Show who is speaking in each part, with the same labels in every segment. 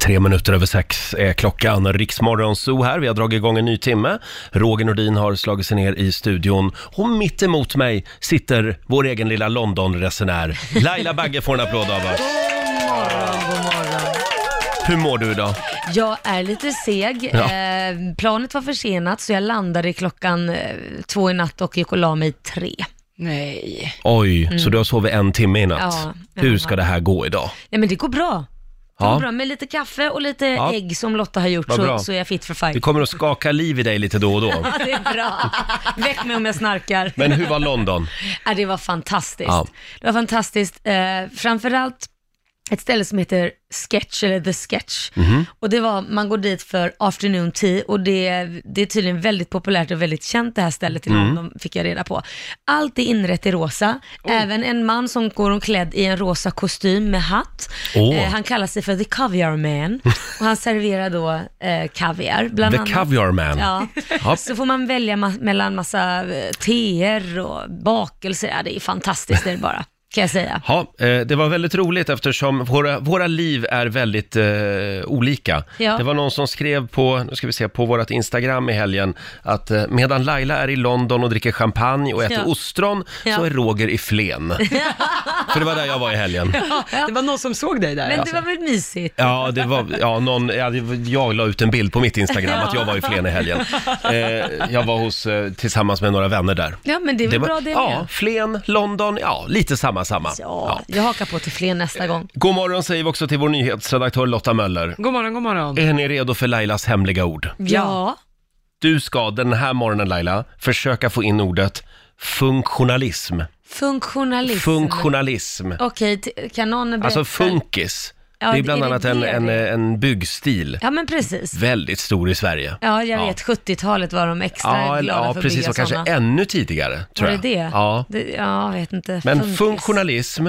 Speaker 1: Tre minuter över sex är klockan. Riksmorgon Zoo här. Vi har dragit igång en ny timme. Roger Nordin har slagit sig ner i studion. Och mitt emot mig sitter vår egen lilla London-resenär. Laila Bagge får en applåd av oss. Hur mår du idag?
Speaker 2: Jag är lite seg.
Speaker 1: Ja.
Speaker 2: Eh, planet var försenat så jag landade klockan eh, två i natt och gick och la mig tre.
Speaker 3: Nej.
Speaker 1: Oj, så du har sovit en timme i natt.
Speaker 2: Ja, ja.
Speaker 1: Hur ska det här gå idag?
Speaker 2: Nej men det går bra. Det
Speaker 1: Ja.
Speaker 2: går bra med lite kaffe och lite
Speaker 1: Ja.
Speaker 2: ägg som Lotta har gjort
Speaker 1: Vad bra.
Speaker 2: så, så är jag fit for
Speaker 1: Vi
Speaker 2: fight.
Speaker 1: kommer att skaka liv i dig lite då och då.
Speaker 2: Ja, det är bra. Väck mig om jag snarkar.
Speaker 1: Men hur var London?
Speaker 2: Ja, det var fantastiskt.
Speaker 1: Ja.
Speaker 2: Det var fantastiskt. Eh, framförallt ett ställe som heter Sketch, eller The Sketch.
Speaker 1: Mhm.
Speaker 2: Och det var, man går dit för afternoon tea och det, det är tydligen väldigt populärt och väldigt känt det här stället i
Speaker 1: Mhm.
Speaker 2: London, fick jag reda på. Allt är inrett i rosa, även en man som går omklädd i en rosa kostym med hatt.
Speaker 1: Åh.
Speaker 2: Eh, han kallar sig för The Caviar Man och han serverar då eh, kaviar, bland
Speaker 1: The
Speaker 2: annat.
Speaker 1: Caviar Man.
Speaker 2: Ja.
Speaker 1: Ja.
Speaker 2: Så får man välja ma- mellan massa eh, teer och bakelser. Ja, det är fantastiskt det är det bara, kan jag säga.
Speaker 1: Ja, eh, det var väldigt roligt eftersom våra, våra liv är väldigt eh, olika.
Speaker 2: Ja.
Speaker 1: Det var någon som skrev på, nu ska vi se, på vårt Instagram i helgen att eh, medan Laila är i London och dricker champagne och äter
Speaker 2: Ja.
Speaker 1: ostron så
Speaker 2: Ja.
Speaker 1: är Roger i Flen. För det var där jag var i helgen.
Speaker 3: Det var någon som såg dig där.
Speaker 2: Men
Speaker 3: alltså.
Speaker 2: det
Speaker 1: Alltså.
Speaker 2: var väl mysigt?
Speaker 1: Ja, det var, ja, någon, ja, det var- jag la ut en bild på mitt Instagram att jag var i Flen i helgen. Eh, jag var hos, eh, tillsammans med några vänner där.
Speaker 2: Ja, men det är väl
Speaker 1: var-
Speaker 2: bra det
Speaker 1: Ja,
Speaker 2: med.
Speaker 1: Flen, London, ja, lite samma samma.
Speaker 2: Ja, jag hakar på till fler nästa gång.
Speaker 1: God morgon säger vi också till vår nyhetsredaktör Lotta Möller.
Speaker 3: God morgon, god morgon.
Speaker 1: Är ni redo för Lailas hemliga ord?
Speaker 2: Ja,
Speaker 1: Du ska den här morgonen Laila försöka få in ordet funktionalism.
Speaker 2: funktionalism.
Speaker 1: Funktionalism.
Speaker 2: Okej, t- kan någon berätta?
Speaker 1: Alltså funkis.
Speaker 2: Ja,
Speaker 1: det är
Speaker 2: det-
Speaker 1: bland
Speaker 2: är det
Speaker 1: annat en,
Speaker 2: det
Speaker 1: en,
Speaker 2: det är?
Speaker 1: en byggstil.
Speaker 2: Ja, men precis.
Speaker 1: Väldigt stor i Sverige.
Speaker 2: Ja, jag vet. 70-talet var de extra
Speaker 1: Ja, eller-
Speaker 2: glada
Speaker 1: ja
Speaker 2: för att
Speaker 1: precis.
Speaker 2: bygga
Speaker 1: Och kanske
Speaker 2: sådana.
Speaker 1: ännu tidigare, tror
Speaker 2: Var
Speaker 1: jag.
Speaker 2: det det?
Speaker 1: Ja.
Speaker 2: det? Ja, jag vet inte.
Speaker 1: Men
Speaker 2: Funkis.
Speaker 1: funktionalism,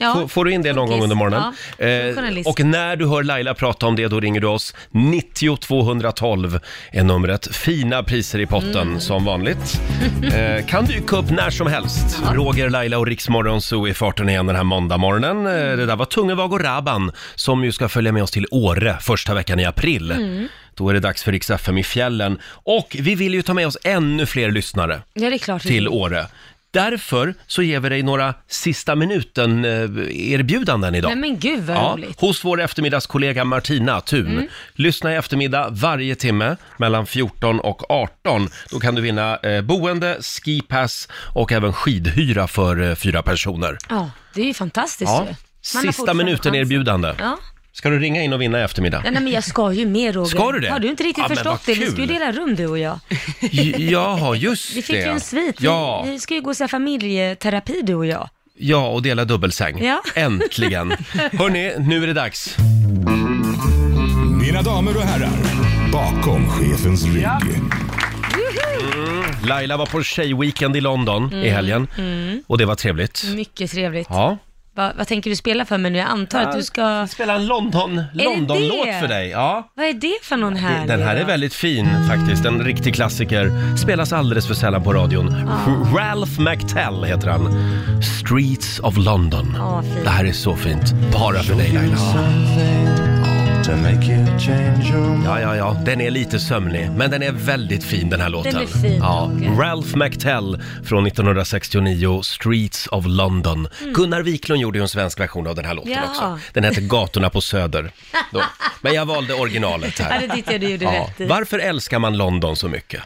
Speaker 2: Ja.
Speaker 1: får, får du in det någon
Speaker 2: Funkis.
Speaker 1: gång under morgonen?
Speaker 2: Ja,
Speaker 1: Eh,
Speaker 2: funktionalism.
Speaker 1: och när du hör Laila prata om det, då ringer du oss. 90 212 är numret. Fina priser i potten,
Speaker 2: Mm.
Speaker 1: som vanligt. Eh, kan dyka upp när som helst. Roger, Laila och Riksmorgon Zoo i farten igen den här måndagmorgonen. Eh, det där var Tungevag och Rabban, som ju ska följa med oss till Åre första veckan i april.
Speaker 2: Mm.
Speaker 1: Då är det dags för Rix FM i fjällen. Och vi vill ju ta med oss ännu fler lyssnare
Speaker 2: Ja, det är klart.
Speaker 1: till Åre. Därför så ger vi dig några sista minuten-erbjudanden idag.
Speaker 2: Nej men gud vad
Speaker 1: Ja,
Speaker 2: roligt. Mm.
Speaker 1: hos vår eftermiddagskollega Martina Thun. Lyssna i eftermiddag varje timme mellan 14 och 18. Då kan du vinna eh, boende, skipass och även skidhyra för eh, fyra personer.
Speaker 2: Ja, det är ju fantastiskt
Speaker 1: Ja.
Speaker 2: ju. Man har
Speaker 1: Sista
Speaker 2: fortfarande chansen.
Speaker 1: minuten-erbjudande.
Speaker 2: Ja.
Speaker 1: Ska du ringa in och vinna i eftermiddag?
Speaker 2: Ja, Nej men jag ska ju med Roger.
Speaker 1: Ska du det?
Speaker 2: Har du inte riktigt
Speaker 1: Ja, men
Speaker 2: förstått
Speaker 1: vad
Speaker 2: det? Vi ska ju
Speaker 1: kul.
Speaker 2: dela rum du och jag.
Speaker 1: J- Jaha, just det.
Speaker 2: Vi fick ju en svit. Vi-
Speaker 1: Ja.
Speaker 2: Vi ska ju gå och se familjeterapi du och jag.
Speaker 1: Ja, och dela dubbelsäng.
Speaker 2: Ja.
Speaker 1: Äntligen! Hörni, nu är det dags.
Speaker 4: Mina damer och herrar, bakom chefens rygg.
Speaker 1: Laila var på tjejweekend i London i
Speaker 2: Mm.
Speaker 1: helgen och det var trevligt.
Speaker 2: Mycket trevligt.
Speaker 1: Ja.
Speaker 2: Va, vad tänker du spela för mig nu? Jag antar att du ska...
Speaker 1: Spela en London, London-låt
Speaker 2: det?
Speaker 1: för dig. Ja.
Speaker 2: Vad är det för någon här?
Speaker 1: Den
Speaker 2: nu
Speaker 1: här
Speaker 2: då?
Speaker 1: är väldigt fin faktiskt, en riktig klassiker. Spelas alldeles för sällan på radion. Ralph McTell heter han. Streets of London.
Speaker 2: Ja, fint.
Speaker 1: det här är så fint. Bara för dig Laila. Ja, ja, ja. Den är lite sömnig, men den är väldigt fin den här låten.
Speaker 2: är fin,
Speaker 1: ja.
Speaker 2: Roger.
Speaker 1: Ralph McTell från 1969, Streets of London. Gunnar Wiklund gjorde ju en svensk version av den här låten
Speaker 2: Mm. Ja.
Speaker 1: också. Den heter Gatorna på Söder. Då. Men jag valde originalet
Speaker 2: Ja,
Speaker 1: här.
Speaker 2: det tyckte jag du gjorde
Speaker 1: Ja.
Speaker 2: rätt i.
Speaker 1: Varför älskar man London så mycket?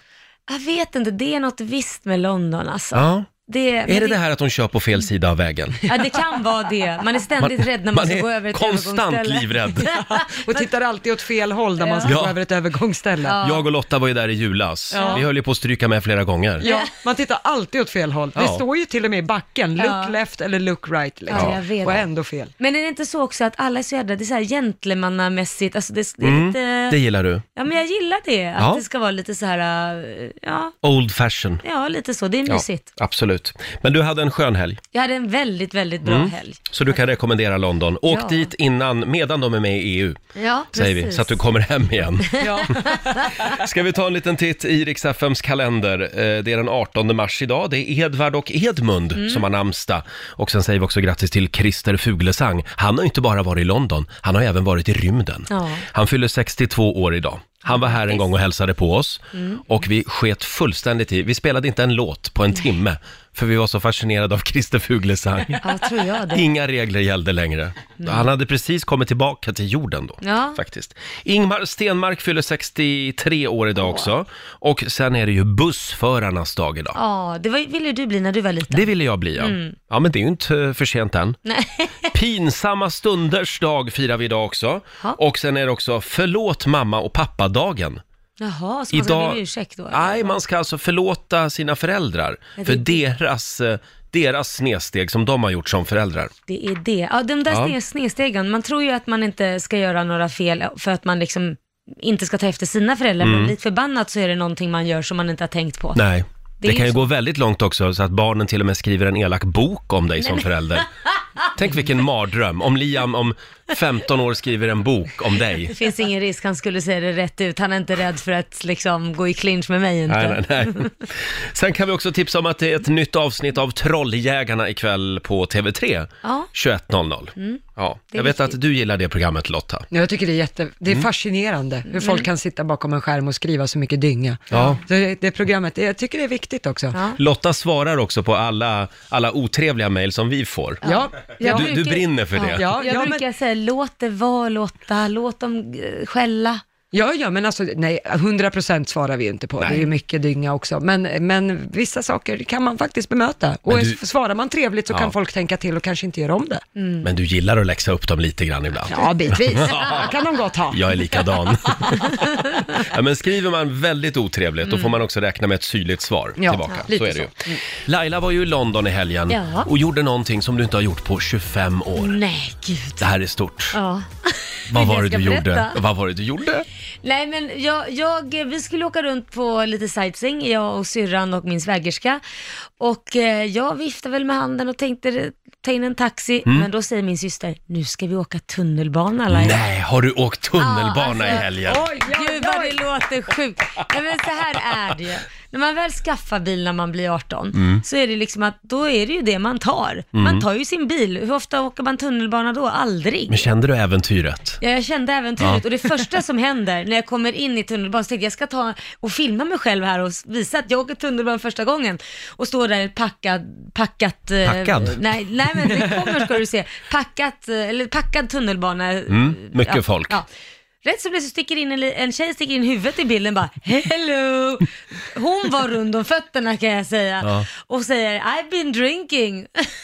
Speaker 2: Jag vet inte, det är något visst med London alltså.
Speaker 1: Ja.
Speaker 2: Det, Mm.
Speaker 1: Är det det här att de kör på fel sida av vägen?
Speaker 2: Ja, det kan vara det. Man är ständigt rädd när man,
Speaker 1: Man
Speaker 2: ska gå över
Speaker 1: är
Speaker 2: ett
Speaker 1: konstant
Speaker 2: övergångsställe.
Speaker 1: livrädd.
Speaker 3: Och tittar alltid åt fel håll när man ska
Speaker 1: Ja.
Speaker 3: gå över ett övergångsställe. Ja.
Speaker 1: Jag och Lotta var ju där i julas. Vi höll ju på att stryka med flera gånger.
Speaker 3: man tittar alltid åt fel håll. Det
Speaker 1: Ja.
Speaker 3: står ju till och med i backen, look
Speaker 2: Ja.
Speaker 3: left eller look right. Liksom.
Speaker 2: Ja, jag vet.
Speaker 3: Och ändå fel.
Speaker 2: Men är det inte så också att alla är så jävla, det är så här gentlemannamässigt, alltså det, det är
Speaker 1: Mm.
Speaker 2: lite...
Speaker 1: Det gillar du.
Speaker 2: Ja men jag gillar det, att
Speaker 1: Ja.
Speaker 2: det ska vara lite så här, äh, ja,
Speaker 1: Old fashion.
Speaker 2: ja lite så, det är mysigt.
Speaker 1: absolut. absolut. Men du hade en skön helg,
Speaker 2: Jag hade en väldigt, väldigt bra
Speaker 1: Mm.
Speaker 2: helg.
Speaker 1: så du kan rekommendera London. Åk
Speaker 2: Ja.
Speaker 1: dit innan, medan de är med i EU,
Speaker 2: Ja,
Speaker 1: säger vi,
Speaker 2: precis.
Speaker 1: så att du kommer hem igen.
Speaker 3: Ja.
Speaker 1: Ska vi ta en liten titt i Riks-FMs kalender. Eh, Det är den 18 mars idag. Det är Edvard och Edmund
Speaker 2: Mm.
Speaker 1: som har namnsdag. Och sen säger vi också grattis till Christer Fuglesang. Han har ju inte bara varit i London, han har ju även varit i rymden.
Speaker 2: Ja.
Speaker 1: Han fyller 62 år idag. Han var här en gång och hälsade på oss
Speaker 2: Mm.
Speaker 1: och vi sket fullständigt i. Vi spelade inte en låt på en timme för vi var så fascinerade av Christer Fuglesang.
Speaker 2: Ja, tror jag det.
Speaker 1: Inga regler gällde längre. Han hade precis kommit tillbaka till jorden då.
Speaker 2: Ja.
Speaker 1: Faktiskt. Ingmar Stenmark fyller 63 år idag också. Och sen är det ju bussförarnas dag idag.
Speaker 2: Ja, Mm. det var, ville ju du bli när du var liten.
Speaker 1: Det ville jag bli ja. Ja men det är ju inte eh, för sent än.
Speaker 2: Nej.
Speaker 1: Pinsamma stunders dag firar vi idag också.
Speaker 2: Ja.
Speaker 1: Och sen är det också förlåt mamma och pappa-dagen.
Speaker 2: Jaha, så man ska
Speaker 1: Idag-
Speaker 2: be om ursäkt då?
Speaker 1: Nej, man ska alltså förlåta sina föräldrar
Speaker 2: Ja, det
Speaker 1: för
Speaker 2: är
Speaker 1: deras, eh, deras snedsteg som de har gjort som föräldrar.
Speaker 2: Det är det. Ja, de där
Speaker 1: Ja.
Speaker 2: ja. snedstegen. Man tror ju att man inte ska göra några fel för att man liksom inte ska ta efter sina föräldrar, men lik förbannat så är det någonting man gör som man inte har tänkt på.
Speaker 1: Mm. Nej. Det,
Speaker 2: Det är
Speaker 1: kan ju
Speaker 2: ju så.
Speaker 1: gå väldigt långt också, så att barnen till och med skriver en elak bok om dig som förälder. Tänk vilken mardröm, om Liam om 15 år skriver en bok om dig.
Speaker 2: Det finns ingen risk han skulle säga det rätt ut. Han är inte rädd för att liksom gå i clinch med mig inte.
Speaker 1: Nej, nej, nej. Sen kan vi också tipsa om att det är ett nytt avsnitt av Trolljägarna ikväll på TV3.
Speaker 2: Ja. Mm.
Speaker 1: 21.00. Ja,
Speaker 2: är
Speaker 1: jag vet
Speaker 2: viktigt.
Speaker 1: att du gillar det programmet Lotta.
Speaker 3: Ja, Jag tycker det är, jätte, det är
Speaker 1: Mm.
Speaker 3: fascinerande hur folk
Speaker 2: Mm.
Speaker 3: kan sitta bakom en skärm och skriva så mycket dynga.
Speaker 1: Ja.
Speaker 3: Så det, det programmet, det, jag tycker det är viktigt också. Ja,
Speaker 2: Ja.
Speaker 1: Lotta svarar också på alla, alla otrevliga mejl som vi får.
Speaker 3: ja,
Speaker 2: Jag
Speaker 1: Du, du
Speaker 2: brukar-
Speaker 1: brinner för det.
Speaker 3: Ja,
Speaker 2: jag
Speaker 3: ja, men-
Speaker 2: brukar säga, låt det vara Lotta, låt dem eh, skälla.
Speaker 3: ja, ja men alltså nej, 100% svarar vi ju inte på. Det är ju mycket dynga också. Men, men vissa saker kan man faktiskt bemöta. Och
Speaker 1: Men du-
Speaker 3: svarar man trevligt så
Speaker 1: Ja.
Speaker 3: kan folk tänka till och kanske inte göra om det.
Speaker 2: Mm.
Speaker 1: Men du gillar att läxa upp dem lite grann ibland.
Speaker 3: Ja, bitvis. kan de gott ha.
Speaker 1: Jag är likadan. ja, men skriver man väldigt otrevligt,
Speaker 2: Mm.
Speaker 1: då får man också räkna med ett syrligt svar
Speaker 3: Ja,
Speaker 1: tillbaka.
Speaker 3: lite
Speaker 1: så är det ju. Laila var ju i London i helgen
Speaker 2: Ja.
Speaker 1: och gjorde någonting som du inte har gjort på 25 år.
Speaker 2: Nej, gud.
Speaker 1: Det här är stort.
Speaker 2: Ja.
Speaker 1: Vad
Speaker 2: Vill
Speaker 1: var
Speaker 2: jag
Speaker 1: det
Speaker 2: ska
Speaker 1: du gjorde?
Speaker 2: berätta?
Speaker 1: Vad var det du gjorde?
Speaker 2: Nej men jag, jag, eh, vi skulle åka runt på lite sightseeing, jag och syrran och min svägerska. Och eh, jag viftade väl med handen och tänkte ta in en taxi,
Speaker 1: Mm.
Speaker 2: men då säger min syster, nu ska vi åka tunnelbana Laila.
Speaker 1: Nej, har du åkt tunnelbana
Speaker 2: Ja, alltså,
Speaker 1: i helgen?
Speaker 3: Oj, oj,
Speaker 2: Gud vad det
Speaker 3: oj.
Speaker 2: låter sjukt. Nej, men så här är det ju. När man väl skaffar bil när man blir 18 så är det liksom att då är det ju det man tar. Man tar ju sin bil. Hur ofta åker man tunnelbana då? Aldrig.
Speaker 1: Men kände du äventyret?
Speaker 2: Ja, jag kände äventyret och det första som händer när jag kommer in i tunnelbanan så tänkte jag, jag ska ta och filma mig själv här och visa att jag åker tunnelbanan första gången och står där packad, packat, eh,
Speaker 1: Packad?
Speaker 2: Nej, nej men det kommer ska du se, packat, eh, eller packad tunnelbana.
Speaker 1: Mm, mycket
Speaker 2: ja,
Speaker 1: folk.
Speaker 2: Ja. Rätt som det är så sticker in en, li- en tjej sticker in huvudet i bilden bara hello. Hon var rund om fötterna kan jag säga
Speaker 1: Ja.
Speaker 2: och säger I've been drinking.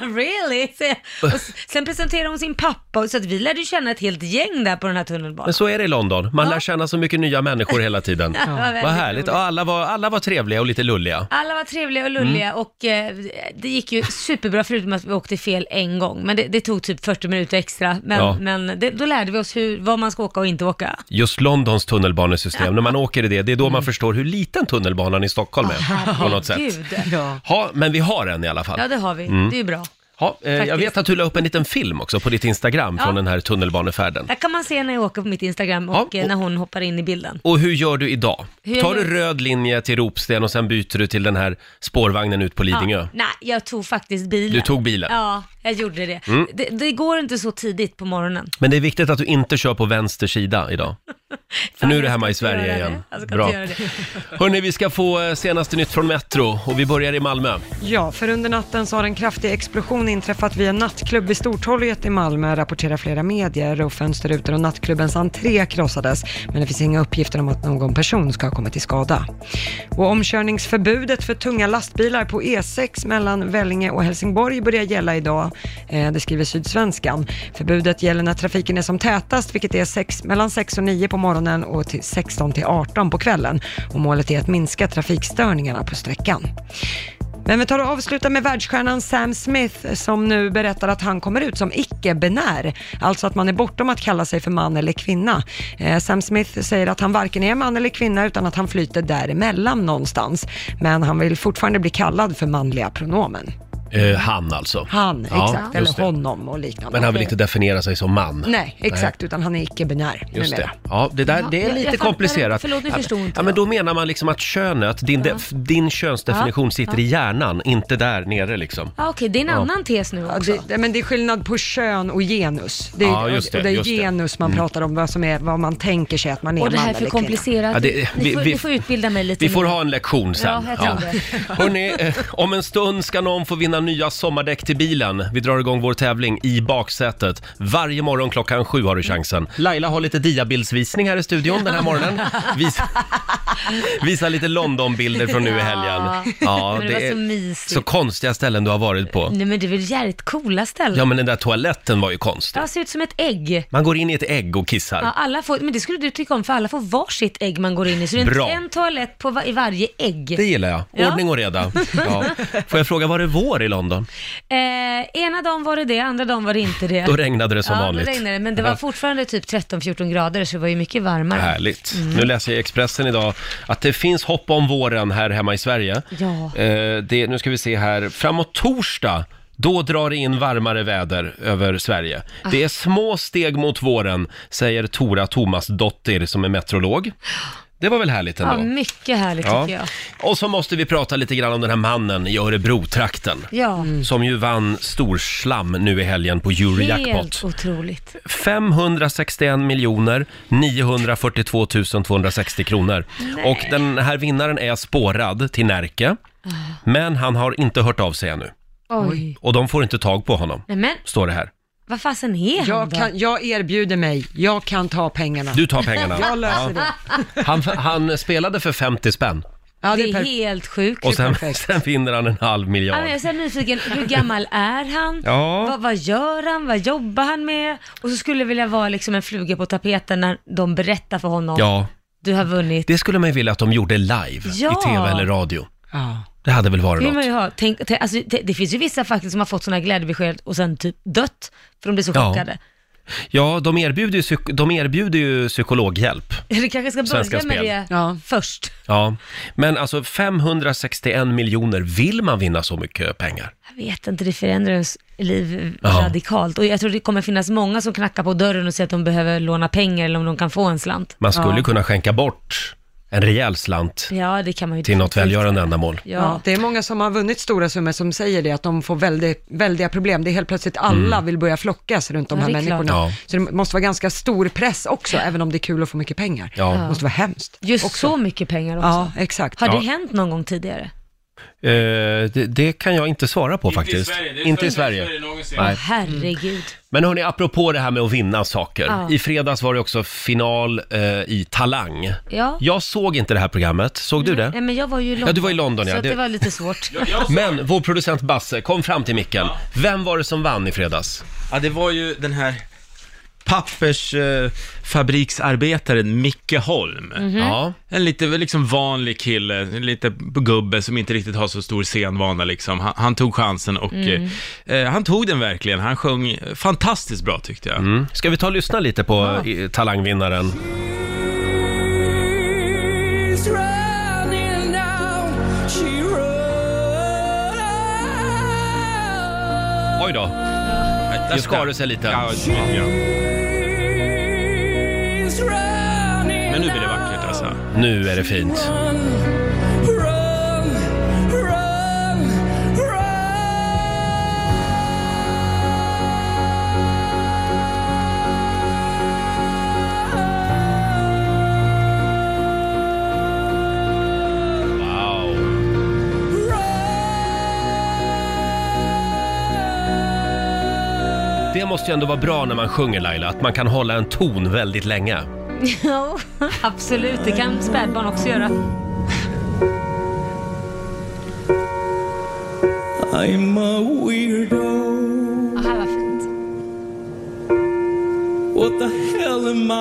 Speaker 2: really? säger jag. Och s- sen presenterar hon sin pappa och så att vi lärde ju känna ett helt gäng där på den här tunnelbanan.
Speaker 1: Men så är det i London. Man
Speaker 2: Ja.
Speaker 1: lär känna så mycket nya människor hela tiden.
Speaker 2: Det var väldigt
Speaker 1: Vad härligt.
Speaker 2: roligt.
Speaker 1: Ja, alla, var, alla var trevliga och lite lulliga.
Speaker 2: Alla var trevliga och lulliga
Speaker 1: Mm.
Speaker 2: och eh, det gick ju superbra förutom att vi åkte fel en gång. Men det, det tog typ 40 minuter extra. Men,
Speaker 1: Ja.
Speaker 2: men det, då lärde vi oss hur, vad man ska åka och inte åka.
Speaker 1: Just Londons tunnelbanesystem, när man åker i det, det är då man förstår hur liten tunnelbanan i Stockholm är. på något sätt.
Speaker 2: Mm. Herregud.
Speaker 3: Ja.
Speaker 1: Ja, Mm. men vi har en i alla fall.
Speaker 2: Ja det har vi, det är ju bra.
Speaker 1: Ja, eh, jag
Speaker 2: faktiskt.
Speaker 1: vet att du la upp en liten film också på ditt Instagram från
Speaker 2: Ja.
Speaker 1: den här tunnelbanefärden.
Speaker 2: Där kan man se när jag åker på mitt Instagram och,
Speaker 1: Ja, och-
Speaker 2: eh, när hon hoppar in i bilden.
Speaker 1: Och hur gör du idag?
Speaker 2: Hur gör
Speaker 1: Tar du
Speaker 2: jag?
Speaker 1: röd linje till Ropsten och sen byter du till den här spårvagnen ut på Lidingö?
Speaker 2: Ja, nej, jag tog faktiskt bilen.
Speaker 1: Du tog bilen? Mm.
Speaker 2: Ja, jag gjorde det. det. Det går inte så tidigt på morgonen.
Speaker 1: Men det är viktigt att du inte kör på vänster sida idag. För nu är du
Speaker 2: jag
Speaker 1: hemma
Speaker 2: ska
Speaker 1: i
Speaker 2: inte
Speaker 1: Sverige
Speaker 2: göra det.
Speaker 1: igen.
Speaker 2: Jag ska
Speaker 1: Bra.
Speaker 2: inte göra det.
Speaker 1: Hörni, vi ska få eh, senaste nytt från Metro och vi börjar i Malmö.
Speaker 3: Ja, för under natten så har en kraftig explosion inträffat vid en nattklubb vid Stortorget i Malmö, rapporterar flera medier. Och fönsterrutor och nattklubbens entré krossades, men det finns inga uppgifter om att någon person ska ha kommit till skada. Och omkörningsförbudet för tunga lastbilar på E6 mellan Vellinge och Helsingborg börjar gälla idag. Eh, Det skriver Sydsvenskan. Förbudet gäller när trafiken är som tätast, vilket är sex, mellan 6 och 9 på morgonen och till 16 till 18 på kvällen. Och målet är att minska trafikstörningarna på sträckan. Men vi tar och avslutar med världsstjärnan Sam Smith som nu berättar att han kommer ut som icke-binär, alltså att man är bortom att kalla sig för man eller kvinna. Eh, Sam Smith säger att han varken är man eller kvinna utan att han flyter däremellan någonstans, men han vill fortfarande bli kallad för manliga pronomen.
Speaker 1: Eh, han alltså.
Speaker 3: Han,
Speaker 1: Ja,
Speaker 3: exakt,
Speaker 1: just
Speaker 3: eller
Speaker 1: det.
Speaker 3: honom och liknande.
Speaker 1: Men han vill inte definiera sig som man.
Speaker 3: Nej, exakt, utan han är icke-binär
Speaker 1: Just det.
Speaker 3: numera.
Speaker 1: Ja, det, där,
Speaker 2: Ja,
Speaker 1: det är
Speaker 2: jag- jag
Speaker 1: lite
Speaker 2: fattar.
Speaker 1: komplicerat.
Speaker 2: Förlåt, nu
Speaker 1: Ja,
Speaker 2: förstod inte
Speaker 1: ja, men
Speaker 2: jag.
Speaker 1: Då menar man liksom att könet, din, de, din könsdefinition
Speaker 2: Ja,
Speaker 1: sitter
Speaker 2: ja.
Speaker 1: i hjärnan, inte där nere liksom.
Speaker 2: Ja, okej, det är en annan tes nu
Speaker 3: Ja,
Speaker 2: också.
Speaker 3: det, det- men det är skillnad på kön och genus. Det är,
Speaker 1: Ja, just det,
Speaker 3: och det är
Speaker 1: just det. Mm.
Speaker 3: genus man pratar om, vad, som är, vad man tänker sig att man är
Speaker 2: och det
Speaker 3: man
Speaker 2: här är
Speaker 3: eller
Speaker 2: för
Speaker 3: kvinna.
Speaker 2: komplicerat.
Speaker 1: Ja, det- vi-
Speaker 2: ni, får,
Speaker 1: vi-
Speaker 2: ni får utbilda mig lite
Speaker 1: Vi får
Speaker 2: mer.
Speaker 1: ha en lektion sen.
Speaker 2: Ja, jag tror
Speaker 1: Hörrni, eh, om en stund ska någon få vinna nya sommardäck till bilen. Vi drar igång vår tävling i baksätet. Varje morgon klockan sju har du chansen. Laila har lite diabildsvisning här i studion den här morgonen. Vis, visa lite Londonbilder från nu i helgen.
Speaker 2: Ja, men det var så
Speaker 1: är
Speaker 2: mysigt. Mm.
Speaker 1: så konstiga ställen du har varit på.
Speaker 2: Nej men det är väl jävligt coola ställen?
Speaker 1: Ja, men den där toaletten var ju konstig.
Speaker 2: Det ser ut som ett ägg.
Speaker 1: Man går in i ett ägg och
Speaker 2: Ja,
Speaker 1: kissar.
Speaker 2: alla får, men det skulle du tycka om, för alla får varsitt ägg man går in i. Så det är
Speaker 1: Bra.
Speaker 2: en- en toalett på, va- i varje ägg.
Speaker 1: Det gillar jag.
Speaker 2: Ja.
Speaker 1: Ordning och reda. Ja. Får jag fråga, var det vår i London?
Speaker 2: Eh, ena dagen var det det, andra dagen var det inte det.
Speaker 1: Då regnade det som
Speaker 2: ja,
Speaker 1: vanligt.
Speaker 2: Då regnade det, men det var fortfarande typ 13-14 grader, så det var ju mycket varmare.
Speaker 1: Härligt.
Speaker 2: Mm.
Speaker 1: Nu läser jag i Expressen idag att det finns hopp om våren här hemma i Sverige.
Speaker 2: Ja.
Speaker 1: Eh, det, nu ska vi se här. Framåt torsdag, då drar det in varmare väder över Sverige.
Speaker 2: Ah.
Speaker 1: Det är små steg mot våren, säger Tora Thomas Dottir som är meteorolog. Det var väl härligt ändå?
Speaker 2: ja, mycket härligt
Speaker 1: Ja.
Speaker 2: tycker jag.
Speaker 1: Och så måste vi prata lite grann om den här mannen i Örebro-trakten.
Speaker 2: Ja,
Speaker 1: Som ju vann storslam nu i helgen på Eurojackpot.
Speaker 2: helt otroligt.
Speaker 1: 561 miljoner 942 260 kronor. Och den här vinnaren är spårad till Närke.
Speaker 2: Ah.
Speaker 1: Men han har inte hört av sig ännu.
Speaker 2: Oj.
Speaker 1: Och de får inte tag på honom,
Speaker 2: Nej men,
Speaker 1: står det här.
Speaker 2: vad fasen är han
Speaker 3: Jag,
Speaker 2: då?
Speaker 3: kan, jag erbjuder mig, jag kan ta pengarna.
Speaker 1: Du tar pengarna.
Speaker 3: Jag löser det.
Speaker 1: Han, han spelade för 50 spänn
Speaker 3: Ja,
Speaker 2: det
Speaker 3: det är
Speaker 2: är
Speaker 3: perfekt.
Speaker 2: helt sjukt.
Speaker 1: och sen,
Speaker 3: perfekt.
Speaker 1: sen vinner han en halv
Speaker 2: Ja,
Speaker 1: miljard.
Speaker 2: men jag är så här nyfiken, hur gammal är han?
Speaker 1: Ja.
Speaker 2: Vad, vad gör han? Vad jobbar han med? Och så skulle jag vilja vara liksom en fluga på tapeten när de berättar för honom,
Speaker 1: Ja,
Speaker 2: du har vunnit.
Speaker 1: det skulle man ju vilja att de gjorde live
Speaker 2: Ja.
Speaker 1: i tv eller radio.
Speaker 3: Ja.
Speaker 1: Det hade väl
Speaker 2: Det
Speaker 1: varit
Speaker 2: vill man
Speaker 1: något.
Speaker 2: ju ha. Tänk, tänk, alltså, det, det finns ju vissa faktiskt som har fått sådana glädjebesked och sen typ dött för de blir så
Speaker 1: Ja.
Speaker 2: chockade.
Speaker 1: Ja, de erbjuder ju, psyk- de erbjuder ju psykologhjälp.
Speaker 2: Du kanske ska börja
Speaker 1: Svenska
Speaker 2: med
Speaker 1: Spel.
Speaker 2: det
Speaker 3: Ja.
Speaker 2: först.
Speaker 1: Ja, men alltså 561 miljoner, vill man vinna så mycket pengar?
Speaker 2: Jag vet inte, det förändrar ens liv
Speaker 1: Ja.
Speaker 2: radikalt. Och jag tror det kommer finnas många som knackar på dörren och säger att de behöver låna pengar eller om de kan få en slant.
Speaker 1: Man skulle ju kunna skänka bort en rejäl slant
Speaker 2: Ja, det kan man ju
Speaker 1: till något
Speaker 2: definitivt
Speaker 1: välgörande
Speaker 2: göra.
Speaker 1: ändamål.
Speaker 2: Ja.
Speaker 3: Ja, det är många som har vunnit stora summor som säger det, att de får väldigt, väldiga problem. Det är helt plötsligt alla vill börja flockas runt de
Speaker 2: Ja,
Speaker 3: här
Speaker 2: det är klart.
Speaker 3: människorna.
Speaker 1: Ja.
Speaker 3: Så det måste vara ganska stor press också, även om det är kul att få mycket pengar.
Speaker 1: Ja.
Speaker 3: Det måste vara hemskt.
Speaker 2: Just
Speaker 3: också.
Speaker 2: så mycket pengar också.
Speaker 3: Ja, exakt.
Speaker 2: Har
Speaker 1: Ja.
Speaker 2: det hänt någon gång tidigare?
Speaker 1: Eh, det, det kan jag inte svara på faktiskt.
Speaker 5: Inte i Sverige. Det är
Speaker 1: Inte i
Speaker 5: första
Speaker 1: Sverige.
Speaker 5: någonsin.
Speaker 1: Nej.
Speaker 2: Herregud.
Speaker 1: Men hörni, apropå det här med att vinna saker.
Speaker 2: Ja.
Speaker 1: I fredags var det också final eh, i Talang.
Speaker 2: Ja.
Speaker 1: Jag såg inte det här programmet, såg du det?
Speaker 2: Nej, Mm. men jag var ju i London.
Speaker 1: Mm. Ja, du var i London,
Speaker 2: så
Speaker 1: ja.
Speaker 2: att det...
Speaker 1: Det-
Speaker 2: var lite svårt.
Speaker 5: Jag sa-
Speaker 1: Men vår producent Basse, kom fram till micken. Vem var det som vann i fredags?
Speaker 5: Ja, det var ju den här pappersfabriksarbetaren Micke Holm.
Speaker 1: Ja.
Speaker 5: En lite väl liksom vanlig kille, en lite gubbe som inte riktigt har så stor scenvana liksom. Han, han tog chansen och eh, han tog den verkligen. Han sjöng fantastiskt bra tyckte jag.
Speaker 1: Mm. Ska vi ta och lyssna lite på eh, talangvinnaren?
Speaker 6: She's running now. She runs.
Speaker 1: Oj då. Där skar det sig lite.
Speaker 5: Ja, ja.
Speaker 6: She's running
Speaker 5: Men nu blir det vackert alltså.
Speaker 1: Nu är det fint.
Speaker 6: Run, run, run, run.
Speaker 1: Wow. Det måste ju ändå vara bra när man sjunger Laila, att man kan hålla en ton väldigt länge.
Speaker 2: Ja, absolut. Det kan spädbarn också göra.
Speaker 6: I'm a weirdo.
Speaker 2: Ja, här var fint.
Speaker 6: What the hell am I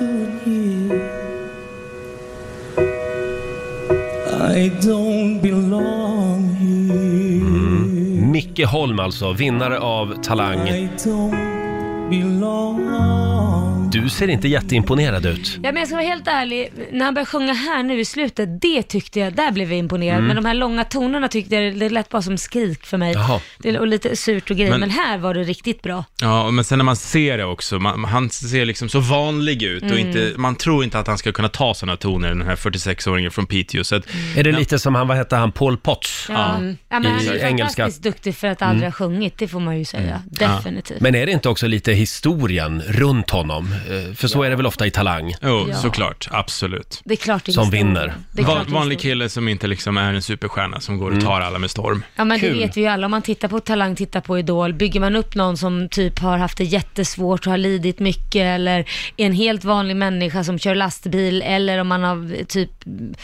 Speaker 6: doing here? I don't belong here.
Speaker 1: Micke Holm alltså, vinnare av Talang.
Speaker 6: I don't belong.
Speaker 1: Du ser inte jätteimponerad ut.
Speaker 2: Ja, men jag ska vara helt ärlig, när han började sjunga här nu i slutet, det tyckte jag, där blev jag imponerad.
Speaker 1: Mm.
Speaker 2: Men de här långa tonerna tyckte jag, det lät bara som skrik för mig.
Speaker 1: Jaha.
Speaker 2: Det, och lite surt och grejer, men,
Speaker 5: Men-
Speaker 2: här var det riktigt bra.
Speaker 5: Ja, men sen när man ser det också, man, han ser liksom så vanlig ut och inte, man tror inte att han ska kunna ta sådana toner, den här 46-åringen från Piteå. Så att,
Speaker 1: Är det lite som han, vad hette han, Paul Potts?
Speaker 2: Ja.
Speaker 5: Ja.
Speaker 2: Ja, men
Speaker 1: I
Speaker 2: han är ju
Speaker 1: engelska. Mm.
Speaker 2: fantastiskt duktig för att aldrig ha sjungit, det får man ju säga. Definitivt.
Speaker 1: Men är det inte också lite historien runt honom? Eh, För så är det väl ofta i Talang?
Speaker 5: jo,
Speaker 2: Ja.
Speaker 5: såklart, absolut.
Speaker 2: Det är klart det är
Speaker 1: Som
Speaker 2: historia.
Speaker 1: vinner.
Speaker 2: Det är klart
Speaker 5: Van,
Speaker 2: det är
Speaker 5: vanlig
Speaker 2: historia.
Speaker 5: kille som inte liksom är en superstjärna som går och
Speaker 7: Mm.
Speaker 5: tar alla med storm.
Speaker 2: Ja men
Speaker 1: Kul.
Speaker 2: det vet vi ju alla, om man tittar på Talang, tittar på Idol, bygger man upp någon som typ har haft det jättesvårt och har lidit mycket eller är en helt vanlig människa som kör lastbil eller om man har typ mm,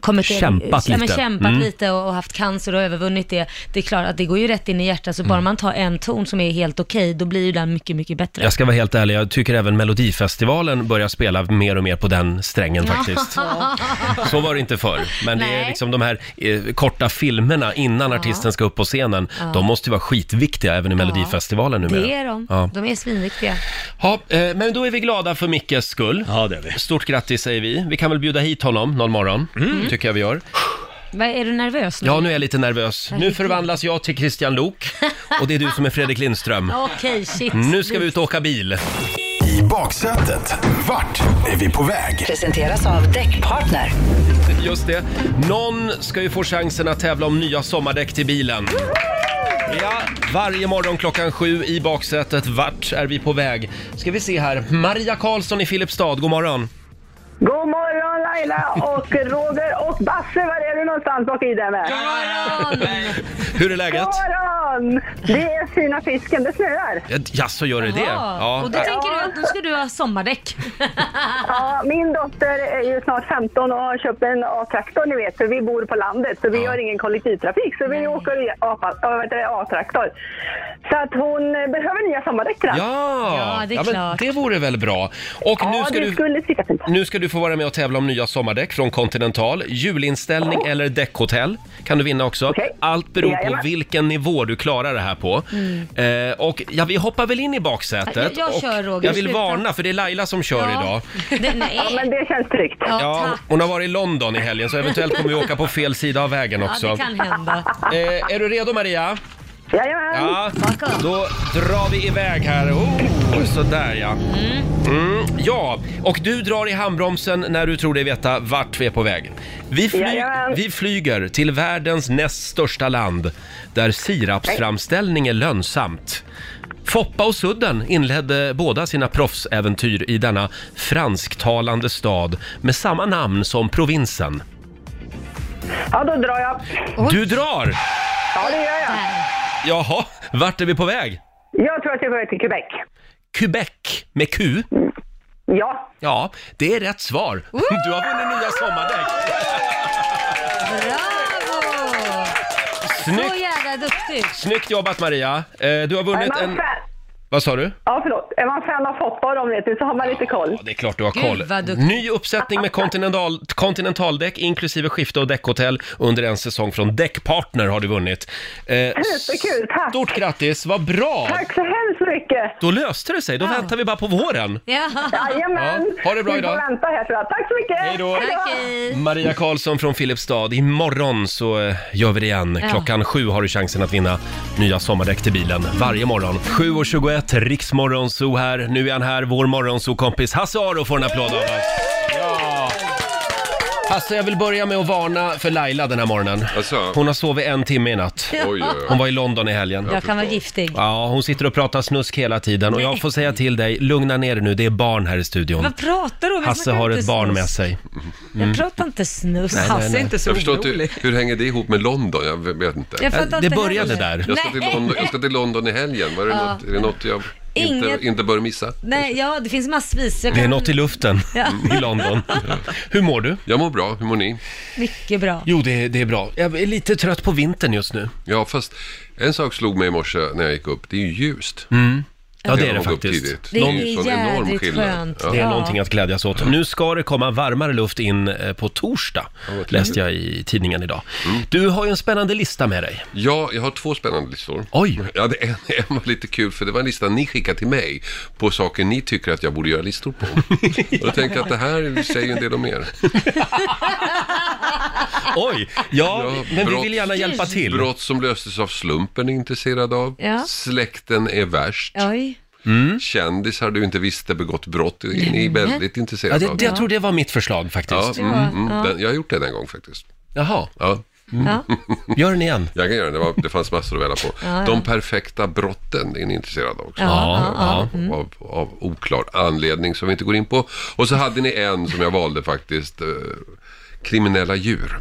Speaker 2: kommit
Speaker 1: Kämpat
Speaker 2: ja, men
Speaker 1: lite.
Speaker 2: kämpat
Speaker 1: Mm.
Speaker 2: lite och, och haft cancer och övervunnit det. Det är klart att det går ju rätt in i hjärtat så
Speaker 1: Mm.
Speaker 2: bara man tar en ton som är helt okej, då blir ju den mycket, mycket bättre.
Speaker 1: Jag ska vara helt ärlig, jag tycker även Melodifestivalen börjar spela mer och mer på den strängen faktiskt. Så var det inte förr. Men det är
Speaker 2: Nej.
Speaker 1: liksom de här eh, korta filmerna innan artisten ska upp på scenen, de måste ju vara skitviktiga även i Melodifestivalen numera.
Speaker 2: Det är de.
Speaker 1: Ja.
Speaker 2: De är svinviktiga.
Speaker 1: Ja, eh, men då är vi glada för Mickes skull.
Speaker 5: Ja, det är vi.
Speaker 1: Stort grattis säger vi. Vi kan väl bjuda hit honom någon morgon,
Speaker 5: Mm.
Speaker 1: tycker jag vi gör.
Speaker 2: Vad, Är du nervös nu?
Speaker 1: Ja, nu är jag lite nervös. Nu förvandlas jag till Christian Lok och det är du som är Fredrik Lindström.
Speaker 2: Okej, shit.
Speaker 1: Nu ska vi ut och åka bil.
Speaker 4: I baksätet, vart är vi på väg?
Speaker 8: Presenteras av Däckpartner.
Speaker 1: Just det. Någon ska ju få chansen att tävla om nya sommardäck till bilen. Ja, varje morgon klockan sju i baksätet. Vart är vi på väg? Ska vi se här. Maria Karlsson i Filipstad, god morgon.
Speaker 9: God morgon Laila och Roger och Basse, var är du någonstans bak i den här?
Speaker 1: Hur är läget?
Speaker 9: God morgon! Det är fina fisken, det snöar.
Speaker 1: Ja, Jaså, gör det det?
Speaker 2: Ja. Och då tänker du att nu ska du ha sommardäck.
Speaker 9: Ja, min dotter är ju snart 15 och har köpt en A-traktor ni vet, för vi bor på landet så vi har ingen kollektivtrafik så vi åker i A- vad heter det, A-traktor. Så att hon eh, behöver nya sommardäck tror jag.
Speaker 1: Ja,
Speaker 2: Ja, det är
Speaker 1: men
Speaker 2: klart.
Speaker 1: det vore väl bra. Och nu
Speaker 9: Ja,
Speaker 1: ska
Speaker 9: det
Speaker 1: du...
Speaker 9: skulle sitta fint.
Speaker 1: Nu ska du få vara med och tävla om nya sommardäck från Continental. Julinställning eller däckhotell kan du vinna också.
Speaker 9: Okej.
Speaker 1: Allt beror på
Speaker 9: Jajamän.
Speaker 1: vilken nivå du klarar det här på. Eh, och ja, vi hoppar väl in i baksätet.
Speaker 2: Jag- Mm. jag
Speaker 1: och
Speaker 2: kör, Roger.
Speaker 1: Jag vill
Speaker 2: Sluta.
Speaker 1: varna för det är Laila som kör idag.
Speaker 2: Det, nej.
Speaker 9: Ja, men det känns tryggt.
Speaker 2: Ja,
Speaker 1: Ja,
Speaker 2: tack.
Speaker 1: hon har varit i London i helgen så eventuellt kommer vi åka på fel sida av vägen också.
Speaker 2: Ja, det kan hända.
Speaker 1: eh, är du redo Maria?
Speaker 9: Jajamän!
Speaker 1: Ja,
Speaker 2: Baka.
Speaker 1: då drar vi iväg här. Oh, sådär ja. Mm, ja, och du drar i handbromsen när du tror dig veta vart vi är på väg. Vi, fly
Speaker 9: Jajamän.
Speaker 1: vi flyger till världens näst största land där sirapsframställning är lönsamt. Foppa och Sudden inledde båda sina proffsäventyr i denna fransktalande stad med samma namn som provinsen.
Speaker 9: Ja, då drar jag.
Speaker 1: Du drar!
Speaker 9: Ja, det gör jag.
Speaker 1: Jaha, vart är vi på väg?
Speaker 9: Jag tror att jag är på väg till Quebec.
Speaker 1: Quebec med Q.
Speaker 9: Ja.
Speaker 1: Ja, det är rätt svar. Du har vunnit nya sommardäck.
Speaker 2: Bravo! Så
Speaker 1: Snyggt,
Speaker 2: jävla duktig.
Speaker 1: snyggt jobbat Maria. Eh, Du har vunnit
Speaker 9: Är man
Speaker 1: en...
Speaker 9: fan...
Speaker 1: Vad sa du?
Speaker 9: Ja, förlåt. Är man fan av Foppa och de vet ni, så har man lite koll.
Speaker 1: Ja, det är klart du har
Speaker 2: Gud,
Speaker 1: koll.
Speaker 2: vad duktig.
Speaker 1: Ny uppsättning med kontinental, kontinentaldäck inklusive skifte och däckhotell under en säsong från Däckpartner har du vunnit. Eh,
Speaker 9: Superkul, tack.
Speaker 1: Stort grattis, vad bra!
Speaker 9: Tack så hemskt mycket!
Speaker 1: Då löste det sig, då väntar vi bara på våren.
Speaker 2: Ja,
Speaker 9: Jajamän!
Speaker 1: Ja, ha det bra
Speaker 9: Vi får
Speaker 1: idag.
Speaker 9: vänta här tror jag. Tack så mycket!
Speaker 1: Hej då.
Speaker 2: tack hej.
Speaker 1: Maria Karlsson från Filipstad, imorgon så eh, gör vi det igen.
Speaker 2: Ja.
Speaker 1: Klockan sju har du chansen att vinna nya sommardäck till bilen varje morgon. 7.21, Riksmorgonzoo här. Nu är han här, vår morgonzoo-kompis Hasse Aro får en applåd av oss. Ja. Hasse, jag vill börja med att varna för Laila den här morgonen.
Speaker 10: Alltså,
Speaker 1: Hon har sovit en timme i natt.
Speaker 10: oj, oj,
Speaker 1: Hon
Speaker 10: oj.
Speaker 1: var i London i helgen.
Speaker 2: Jag kan vara giftig.
Speaker 1: Ja, hon sitter och pratar snusk hela tiden och jag får säga till dig, lugna ner dig nu, det är barn här i studion.
Speaker 2: Vad pratar du om? Jag
Speaker 1: Hasse
Speaker 2: snackar
Speaker 1: har
Speaker 2: inte
Speaker 1: ett barn
Speaker 2: snus.
Speaker 1: med sig. Mm.
Speaker 2: Jag pratar inte snus.
Speaker 3: Hasse är inte så
Speaker 10: Jag förstår
Speaker 3: orolig.
Speaker 10: inte, hur hänger det ihop med London? Jag vet
Speaker 2: Jag
Speaker 10: inte.
Speaker 2: fattar
Speaker 1: Äh, Det
Speaker 2: inte
Speaker 1: började
Speaker 2: heller.
Speaker 1: där.
Speaker 10: Jag ska till
Speaker 2: Nej.
Speaker 10: London, jag ska till London i helgen. Var det något, är det något jag
Speaker 2: Inget.
Speaker 10: inte, inte bör missa?
Speaker 2: Nej, ja, det finns massvis. Jag
Speaker 1: Det är
Speaker 2: kan
Speaker 1: något i luften i London. Hur mår du?
Speaker 10: Jag mår bra, hur mår ni?
Speaker 2: mycket bra.
Speaker 1: Jo, det, är- det är bra. Jag är lite trött på vintern just nu.
Speaker 10: Ja, fast en sak slog mig i morse när jag gick upp. Det är ju ljust.
Speaker 1: Ja, det är det
Speaker 10: Jag går upp
Speaker 1: faktiskt.
Speaker 10: tidigt.
Speaker 2: Det
Speaker 10: ju
Speaker 2: är
Speaker 10: sån enorm
Speaker 2: jädrigt
Speaker 10: skillnad.
Speaker 2: skönt.
Speaker 10: Ja.
Speaker 1: Det är
Speaker 2: Ja.
Speaker 1: någonting att glädjas åt. Nu ska det komma varmare luft in eh, på torsdag, läste jag i tidningen idag.
Speaker 10: Mm.
Speaker 1: Du har ju en spännande lista med dig.
Speaker 10: Ja, jag har två spännande listor.
Speaker 1: Oj.
Speaker 10: Ja, det en, en var lite kul för det var en lista ni skickade till mig på saker ni tycker att jag borde göra listor på. Och då tänkte jag att det här säger ju en del om er.
Speaker 1: Oj! Ja,
Speaker 10: Ja,
Speaker 1: men vi
Speaker 10: brott.
Speaker 1: vill gärna hjälpa till.
Speaker 10: Brott som löstes av slumpen är jag intresserad av.
Speaker 2: Ja.
Speaker 10: Släkten är värst.
Speaker 2: Oj.
Speaker 10: Kändisar du inte visste begått brott är ni väldigt
Speaker 1: Ja,
Speaker 10: intresserade
Speaker 1: det,
Speaker 10: av.
Speaker 1: det, jag tror det var mitt förslag
Speaker 10: Ja,
Speaker 1: faktiskt.
Speaker 10: mm, mm, Den, jag har gjort den en gång faktiskt.
Speaker 1: Jaha,
Speaker 10: Ja,
Speaker 2: Ja.
Speaker 1: gör den igen.
Speaker 10: jag kan göra den, det, var, det fanns massor att välja på. De perfekta brotten är ni intresserade av också.
Speaker 1: Ja, ja.
Speaker 2: Mm.
Speaker 10: Av, av oklar anledning som vi inte går in på. Och så hade ni en som jag valde faktiskt. Eh, kriminella djur.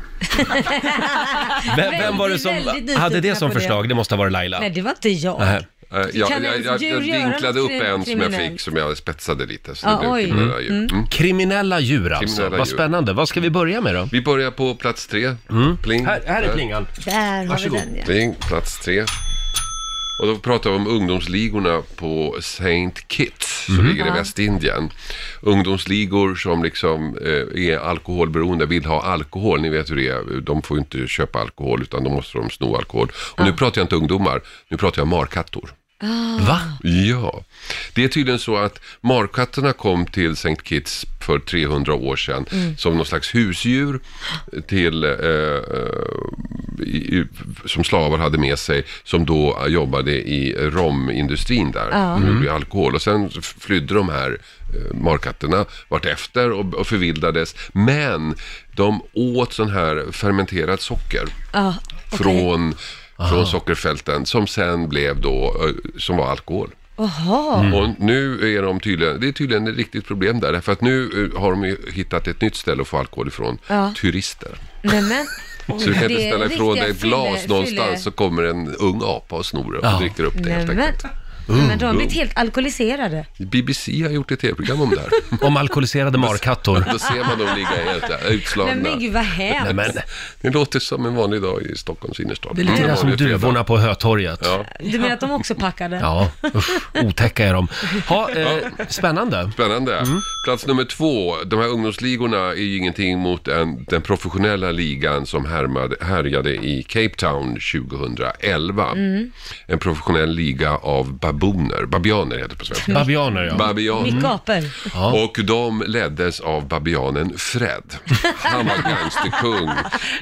Speaker 1: Vem, vem var det
Speaker 2: Väldigt,
Speaker 1: som
Speaker 2: väldigt nyfiken
Speaker 1: hade det som
Speaker 2: på det.
Speaker 1: förslag? Det måste ha varit Laila.
Speaker 2: Nej, det var inte jag.
Speaker 1: Nähä.
Speaker 10: Eh, jag,
Speaker 2: Kan
Speaker 10: jag,
Speaker 2: ens
Speaker 10: jag, jag
Speaker 2: djur göra
Speaker 10: vinklade
Speaker 2: något
Speaker 10: upp en som jag
Speaker 2: kriminellt?
Speaker 10: fick som jag spetsade lite. Så
Speaker 2: Ja,
Speaker 10: det blev
Speaker 2: oj.
Speaker 10: kriminella djur. Mm.
Speaker 1: Kriminella djur alltså.
Speaker 10: Kriminella
Speaker 1: Vad
Speaker 10: djur.
Speaker 1: spännande. Vad ska vi börja med då?
Speaker 10: Vi börjar på plats tre. Pling.
Speaker 1: Mm. Här, här är
Speaker 10: Eh,
Speaker 1: plingan.
Speaker 2: Där har vi den ja.
Speaker 10: Pling, plats tre. Och då pratar vi om ungdomsligorna på St. Kitts som ligger i Västindien. Ungdomsligor som liksom eh, är alkoholberoende, vill ha alkohol. Ni vet hur det är, de får ju inte köpa alkohol utan då måste de sno alkohol. Och nu pratar jag inte ungdomar, nu pratar jag markattor.
Speaker 1: Va?
Speaker 10: Ja, det är tydligen så att markatterna kom till St. Kitts för 300 år sedan som någon slags husdjur till, eh, eh, i, i, som slavar hade med sig som då jobbade i romindustrin där. De
Speaker 2: Mm.
Speaker 10: gjorde ju alkohol och sen flydde de här eh, markatterna vartefter och, och förvildades. Men de åt sån här fermenterat socker
Speaker 2: ja. okej.
Speaker 10: från, från sockerfälten som sen blev då, eh, som var alkohol.
Speaker 2: Jaha,
Speaker 10: Och nu är de tydligen, det är tydligen ett riktigt problem där, för att nu eh, har de ju hittat ett nytt ställe att få alkohol ifrån,
Speaker 2: Ja.
Speaker 10: turister.
Speaker 2: nej men.
Speaker 10: Så du kan
Speaker 2: Det
Speaker 10: inte
Speaker 2: är
Speaker 10: ställa ifrån
Speaker 2: riktiga
Speaker 10: dig ett glas
Speaker 2: fylle-
Speaker 10: någonstans
Speaker 2: fylle-
Speaker 10: så kommer en ung apa och snor det och
Speaker 1: Ja.
Speaker 10: dricker upp det
Speaker 2: Nej,
Speaker 10: helt
Speaker 2: men.
Speaker 10: enkelt.
Speaker 2: Nej, men de har
Speaker 10: Mm.
Speaker 2: blivit helt alkoholiserade.
Speaker 10: BBC har gjort ett tv-program om det här.
Speaker 1: Om alkoholiserade markattor.
Speaker 10: Då ser man dem ligga helt eh, utslagna.
Speaker 2: Men, men gud vad hemskt.
Speaker 1: Nej, men,
Speaker 10: Det låter som en vanlig dag i Stockholms innerstad. Mm.
Speaker 1: det är lite
Speaker 10: En
Speaker 1: grann som
Speaker 10: vanlig fredag.
Speaker 1: duvorna på Hötorget.
Speaker 10: Ja.
Speaker 2: Du menar att de också packade?
Speaker 1: Ja, usch, otäcka är de. Ha, eh, spännande.
Speaker 10: Spännande.
Speaker 1: Mm.
Speaker 10: Plats nummer två. De här ungdomsligorna är ju ingenting mot en, den professionella ligan som härmade, härjade i Cape Town 2011.
Speaker 2: Mm.
Speaker 10: En professionell liga av baboner. Babianer heter det på svenska.
Speaker 1: Babianer ja.
Speaker 10: Babianer.
Speaker 2: Mycket apor.
Speaker 10: Och de leddes av babianen Fred. Han var gangsterkung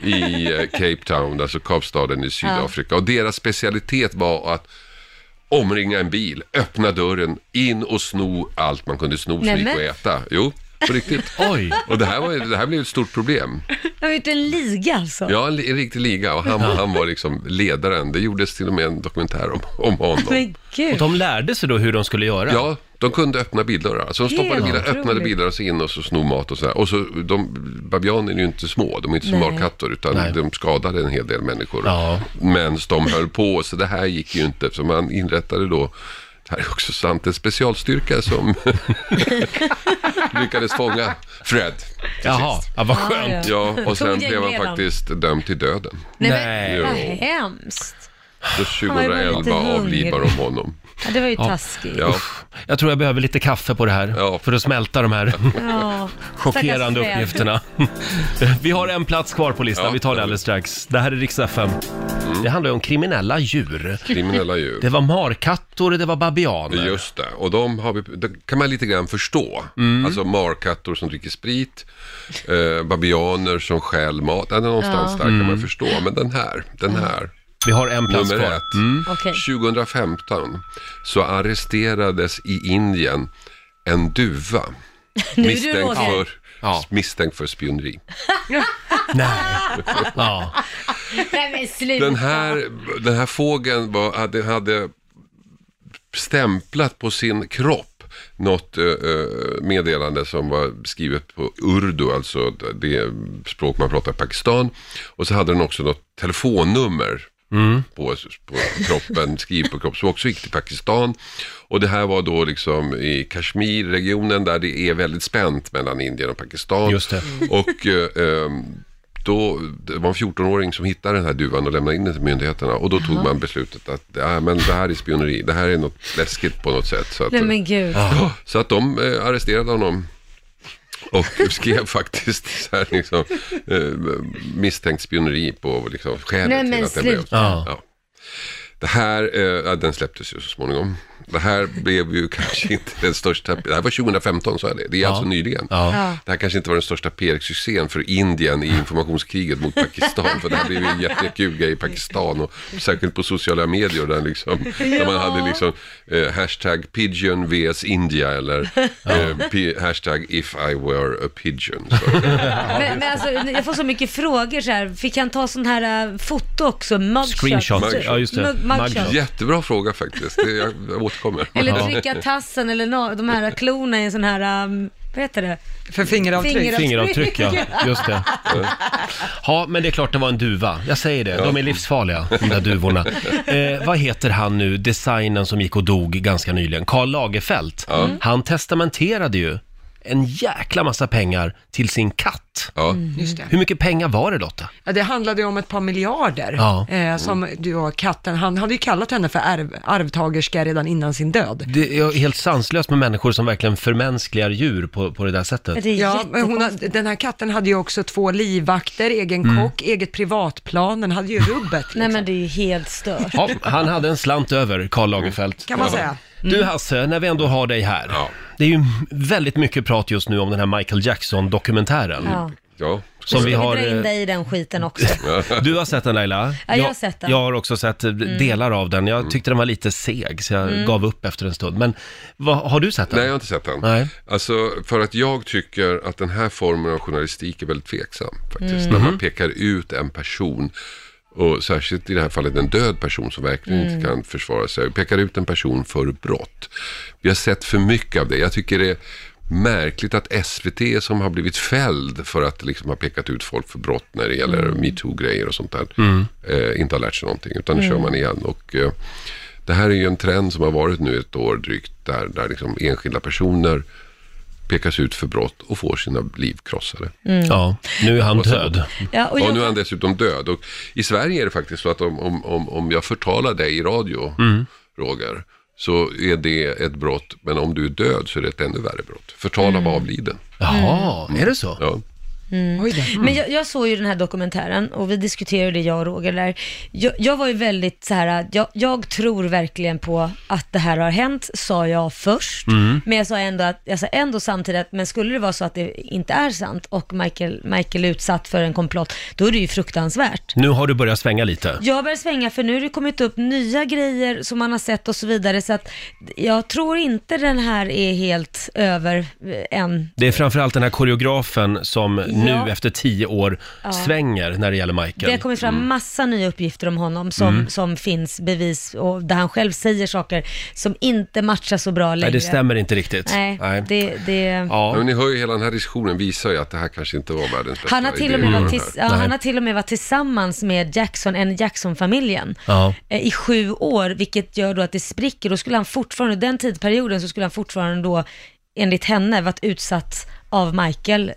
Speaker 10: i eh, Cape Town, alltså Kapstaden i Sydafrika. Och deras specialitet var att omringa en bil, öppna dörren, in och sno allt man kunde sno som
Speaker 2: Nej,
Speaker 10: gick
Speaker 2: men.
Speaker 10: att äta. Jo, på riktigt.
Speaker 1: Oj,
Speaker 10: Och det här, var, ju- det här blev ett stort problem.
Speaker 2: De har gjort en liga alltså.
Speaker 10: Ja, en, li- en riktig liga och han, han var liksom ledaren. Det gjordes till och med en dokumentär om, om honom.
Speaker 2: Men gud.
Speaker 1: de lärde sig då hur de skulle göra.
Speaker 10: Ja, de kunde öppna bildörrar. Så de stoppade
Speaker 2: Helt
Speaker 10: bilar, öppnade
Speaker 2: otroligt.
Speaker 10: bilar och så in och så sno mat och sådär. Och så, de, babianer är ju inte små, de är inte som
Speaker 2: Nej.
Speaker 10: markattor utan
Speaker 1: Nej.
Speaker 10: de skadade en hel del människor.
Speaker 1: Ja.
Speaker 10: Men de höll på, så det här gick ju inte. Så man inrättade då det här är också sant, en specialstyrka som lyckades fånga Fred. till
Speaker 1: Jaha,
Speaker 10: sist.
Speaker 1: ja, vad skönt.
Speaker 10: Ja, och sen
Speaker 2: Tog
Speaker 10: blev han
Speaker 2: gängledaren.
Speaker 10: faktiskt dömd till döden.
Speaker 2: Nej,
Speaker 1: Nej.
Speaker 2: men, vad hemskt.
Speaker 10: Så
Speaker 2: var lite
Speaker 10: 2011
Speaker 2: hungrig.
Speaker 10: avlivar de honom.
Speaker 2: Ja, det var ju taskigt.
Speaker 10: Ja,
Speaker 1: Jag tror jag behöver lite kaffe på det här
Speaker 10: Ja.
Speaker 1: för att smälta de här
Speaker 2: Ja.
Speaker 1: chockerande
Speaker 2: Stackars Fred.
Speaker 1: uppgifterna. Vi har en plats kvar på listan,
Speaker 10: Ja.
Speaker 1: vi tar det alldeles strax. Det här är riksdag 5.
Speaker 10: Mm.
Speaker 1: Det handlar ju om kriminella djur.
Speaker 10: kriminella djur.
Speaker 1: Det var markattor, det var babianer.
Speaker 10: Just det, och de har vi, det kan man lite grann förstå. Alltså markattor som dricker sprit, eh, babianer som stjäl mat. Ja, någonstans där kan man förstå. Men den här, den här,
Speaker 1: Vi har en plats
Speaker 10: nummer
Speaker 1: kvar.
Speaker 10: ett.
Speaker 2: Okej.
Speaker 10: 2015 så arresterades i Indien en duva
Speaker 2: du
Speaker 10: misstänkt
Speaker 2: Roger.
Speaker 10: för,
Speaker 1: Ja.
Speaker 10: misstänkt för spioneri.
Speaker 1: Nej. Ja.
Speaker 2: Nej men sluta.
Speaker 10: Den här, den här fågeln var, hade, hade stämplat på sin kropp något eh, eh, meddelande som var skrivet på urdu, alltså det språk man pratar i Pakistan. Och så hade den också något telefonnummer på, på kroppen, skrivet på kroppen, som också gick till Pakistan. Och det här var då liksom i Kashmir-regionen där det är väldigt spänt mellan Indien Mm. och Pakistan.
Speaker 1: Just det.
Speaker 10: Och eh, eh, då, det var en 14-åring som hittade den här duvan och lämnade in den till myndigheterna. Och då tog man beslutet att ja, men det här är spioneri, det här är något läskigt på något sätt. Så att,
Speaker 2: Nej men gud.
Speaker 10: Ja, Så att de eh, arresterade honom. Och skrev faktiskt så här liksom, eh, misstänkt spioneri på liksom, skälet
Speaker 2: Nej, men
Speaker 10: till att den blev
Speaker 2: sluta.
Speaker 1: Ja.
Speaker 10: Ja. Det här, eh, ja, den släpptes ju så småningom. Det här blev ju kanske inte den största, det här var 2015 sa jag det, det är alltså nyligen.
Speaker 1: Ja.
Speaker 10: Det här kanske inte var den största PR-succén för Indien i informationskriget mot Pakistan, för det här blev ju en jättekuga i Pakistan och särskilt på sociala medier där, liksom, där man hade liksom eh, hashtag pigeon vs India eller eh, pi- hashtag if I were a pigeon. Så.
Speaker 2: Men, men alltså, jag får så mycket frågor så här. Fick han ta sån här äh, foto också? Mugshot?
Speaker 1: Screenshot. Ja, just det.
Speaker 2: Mug- Mugshot.
Speaker 1: Mugshot.
Speaker 10: Jättebra fråga faktiskt, det, jag, jag återkommer.
Speaker 2: Eller trycka tassen eller nå- de här klorna i en sån här, ähm, vad heter det?
Speaker 3: För fingeravtryck.
Speaker 1: Fingeravtryck, ja. Just det. Ja, men det är klart det var en duva. Jag säger det, de är livsfarliga, de där duvorna. Eh, vad heter han nu, designen som gick och dog ganska nyligen? Karl Lagerfeld. Han testamenterade ju en jäkla massa pengar till sin katt.
Speaker 10: Ja.
Speaker 3: Just det.
Speaker 1: Hur mycket pengar var det Lotta?
Speaker 3: Ja, det handlade ju om ett par miljarder
Speaker 1: Ja.
Speaker 3: eh, som du och katten, han hade ju kallat henne för arv, arvtagerska redan innan sin död.
Speaker 1: Det är helt sanslöst med människor som verkligen förmänskligar djur på, på det där sättet.
Speaker 2: Det är
Speaker 3: Ja, men
Speaker 2: jättekonstigt.
Speaker 3: hon har, den här katten hade ju också två livvakter, egen
Speaker 1: Mm.
Speaker 3: kock, eget privatplan, den hade ju rubbet.
Speaker 2: Nej
Speaker 3: Liksom.
Speaker 2: men det är ju helt stört.
Speaker 1: Ja, han hade en slant över, Karl Lagerfeld.
Speaker 3: Kan man säga.
Speaker 1: Du
Speaker 2: Mm.
Speaker 1: Hasse, när vi ändå har dig här.
Speaker 10: Ja.
Speaker 1: Det är ju väldigt mycket prat just nu om den här Michael Jackson-dokumentären.
Speaker 2: Ja.
Speaker 10: Ja,
Speaker 1: Som vi har...
Speaker 2: dra in
Speaker 1: eh,
Speaker 2: dig i den skiten också.
Speaker 1: Du har sett den Laila?
Speaker 2: Ja, jag har sett den. Mm.
Speaker 1: Jag har också sett eh, delar av den. Jag tyckte den var lite seg, så jag gav upp efter en stund. Men vad, har du sett den?
Speaker 10: Nej, jag har inte sett den.
Speaker 1: Nej.
Speaker 10: Alltså, för att jag tycker att den här formen av journalistik är väldigt tveksam. Faktiskt. När
Speaker 1: Mm.
Speaker 10: man pekar ut en person, och särskilt i det här fallet en död person som verkligen
Speaker 1: Mm.
Speaker 10: inte kan försvara sig. Pekar ut en person för brott. Vi har sett för mycket av det. Jag tycker det är märkligt att SVT som har blivit fälld för att liksom ha pekat ut folk för brott när det gäller
Speaker 1: Mm.
Speaker 10: metoo-grejer och sånt där, eh, inte har lärt sig någonting. Utan nu
Speaker 1: Mm.
Speaker 10: kör man igen. Och, eh, det här är ju en trend som har varit nu ett år drygt där, där liksom enskilda personer pekas ut för brott och får sina liv krossade.
Speaker 1: Ja, nu är han död.
Speaker 2: Ja, Mm. och
Speaker 10: Och nu är
Speaker 2: jag,
Speaker 10: han dessutom död. Och I Sverige är det faktiskt så att om, om, om, om jag förtalar dig i radio, Roger, så är det ett brott, men om du är död så är det ett ännu värre brott. Förtal
Speaker 2: Mm.
Speaker 10: av avliden.
Speaker 1: Jaha, är det så?
Speaker 10: Ja.
Speaker 3: Oj då.
Speaker 2: men jag, jag såg ju den här dokumentären och vi diskuterade det jag och Roger där. Jag, jag var ju väldigt så här, att jag, jag tror verkligen på att det här har hänt, sa jag först. Men jag sa ändå, att, jag sa ändå samtidigt att, men skulle det vara så att det inte är sant och Michael, Michael är utsatt för en komplott, då är det ju fruktansvärt.
Speaker 1: Nu har du börjat svänga lite.
Speaker 2: Jag börjar svänga för nu har det kommit upp nya grejer som man har sett och så vidare så att jag tror inte den här är helt över eh, än.
Speaker 1: Det är framförallt den här koreografen som nu efter tio år svänger när det gäller
Speaker 2: Det har
Speaker 1: Michael.
Speaker 2: kommit fram massa nya uppgifter om honom som,
Speaker 1: Mm.
Speaker 2: som finns bevis och där han själv säger saker som inte matchar så bra
Speaker 1: Nej,
Speaker 2: längre.
Speaker 1: det stämmer inte riktigt.
Speaker 2: Nej, det... det...
Speaker 10: Ja,
Speaker 1: Ja.
Speaker 10: Men ni hör ju hela den här diskussionen visar ju att det här kanske inte var världens bästa
Speaker 2: Han har, till och
Speaker 10: idé.
Speaker 2: med varit
Speaker 10: Mm.
Speaker 2: tills, ja, han har till och med varit tillsammans med Jackson, en Jackson-familjen,
Speaker 1: Ja.
Speaker 2: eh, i sju år, vilket gör då att det spricker. Då skulle han fortfarande, den tidperioden, så skulle han fortfarande då, enligt henne, varit utsatt av Michael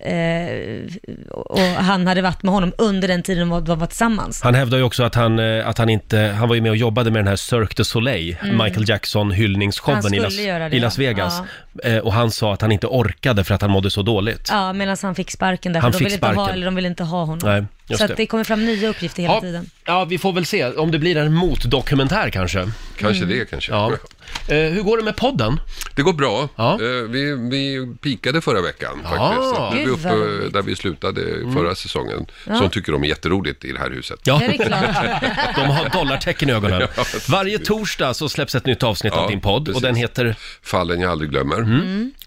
Speaker 2: eh, och han hade varit med honom under den tiden de var- var tillsammans.
Speaker 1: Han hävdar ju också att han, eh, att han inte, han var ju med och jobbade med den här Cirque du Soleil, Michael Jackson
Speaker 2: Mm. Han
Speaker 1: hyllningsshowen i
Speaker 2: skulle
Speaker 1: Las,
Speaker 2: göra det,
Speaker 1: i Las
Speaker 2: ja.
Speaker 1: Vegas. Eh, Och han sa att han inte orkade för att han mådde så dåligt.
Speaker 2: Ja, medan han fick sparken därför
Speaker 1: Han
Speaker 2: de
Speaker 1: fick
Speaker 2: ville inte ha,
Speaker 1: sparken.
Speaker 2: eller de ville inte ha honom.
Speaker 1: Nej, just
Speaker 2: så att
Speaker 1: det.
Speaker 2: det kommer fram nya uppgifter hela
Speaker 1: Ja,
Speaker 2: tiden.
Speaker 1: ja, vi får väl se om det blir en motdokumentär kanske.
Speaker 10: Kanske
Speaker 2: Mm.
Speaker 10: det, kanske.
Speaker 1: Ja. Eh, hur går det med podden?
Speaker 10: Det går bra.
Speaker 1: Ja.
Speaker 10: Eh, Vi, vi pikade förra veckan
Speaker 1: Ja. Mm.
Speaker 10: faktiskt. Så att Nu är vi
Speaker 2: Gud,
Speaker 10: uppe
Speaker 2: vad roligt.
Speaker 10: där vi slutade förra säsongen. Som tycker de är jätteroligt i det här huset.
Speaker 1: Ja,
Speaker 2: Ja, det är klart.
Speaker 1: de har dollartecken i ögonen. Varje torsdag så släpps ett nytt avsnitt
Speaker 10: Ja,
Speaker 1: av din podd och
Speaker 10: precis.
Speaker 1: den heter
Speaker 10: Fallen jag aldrig glömmer.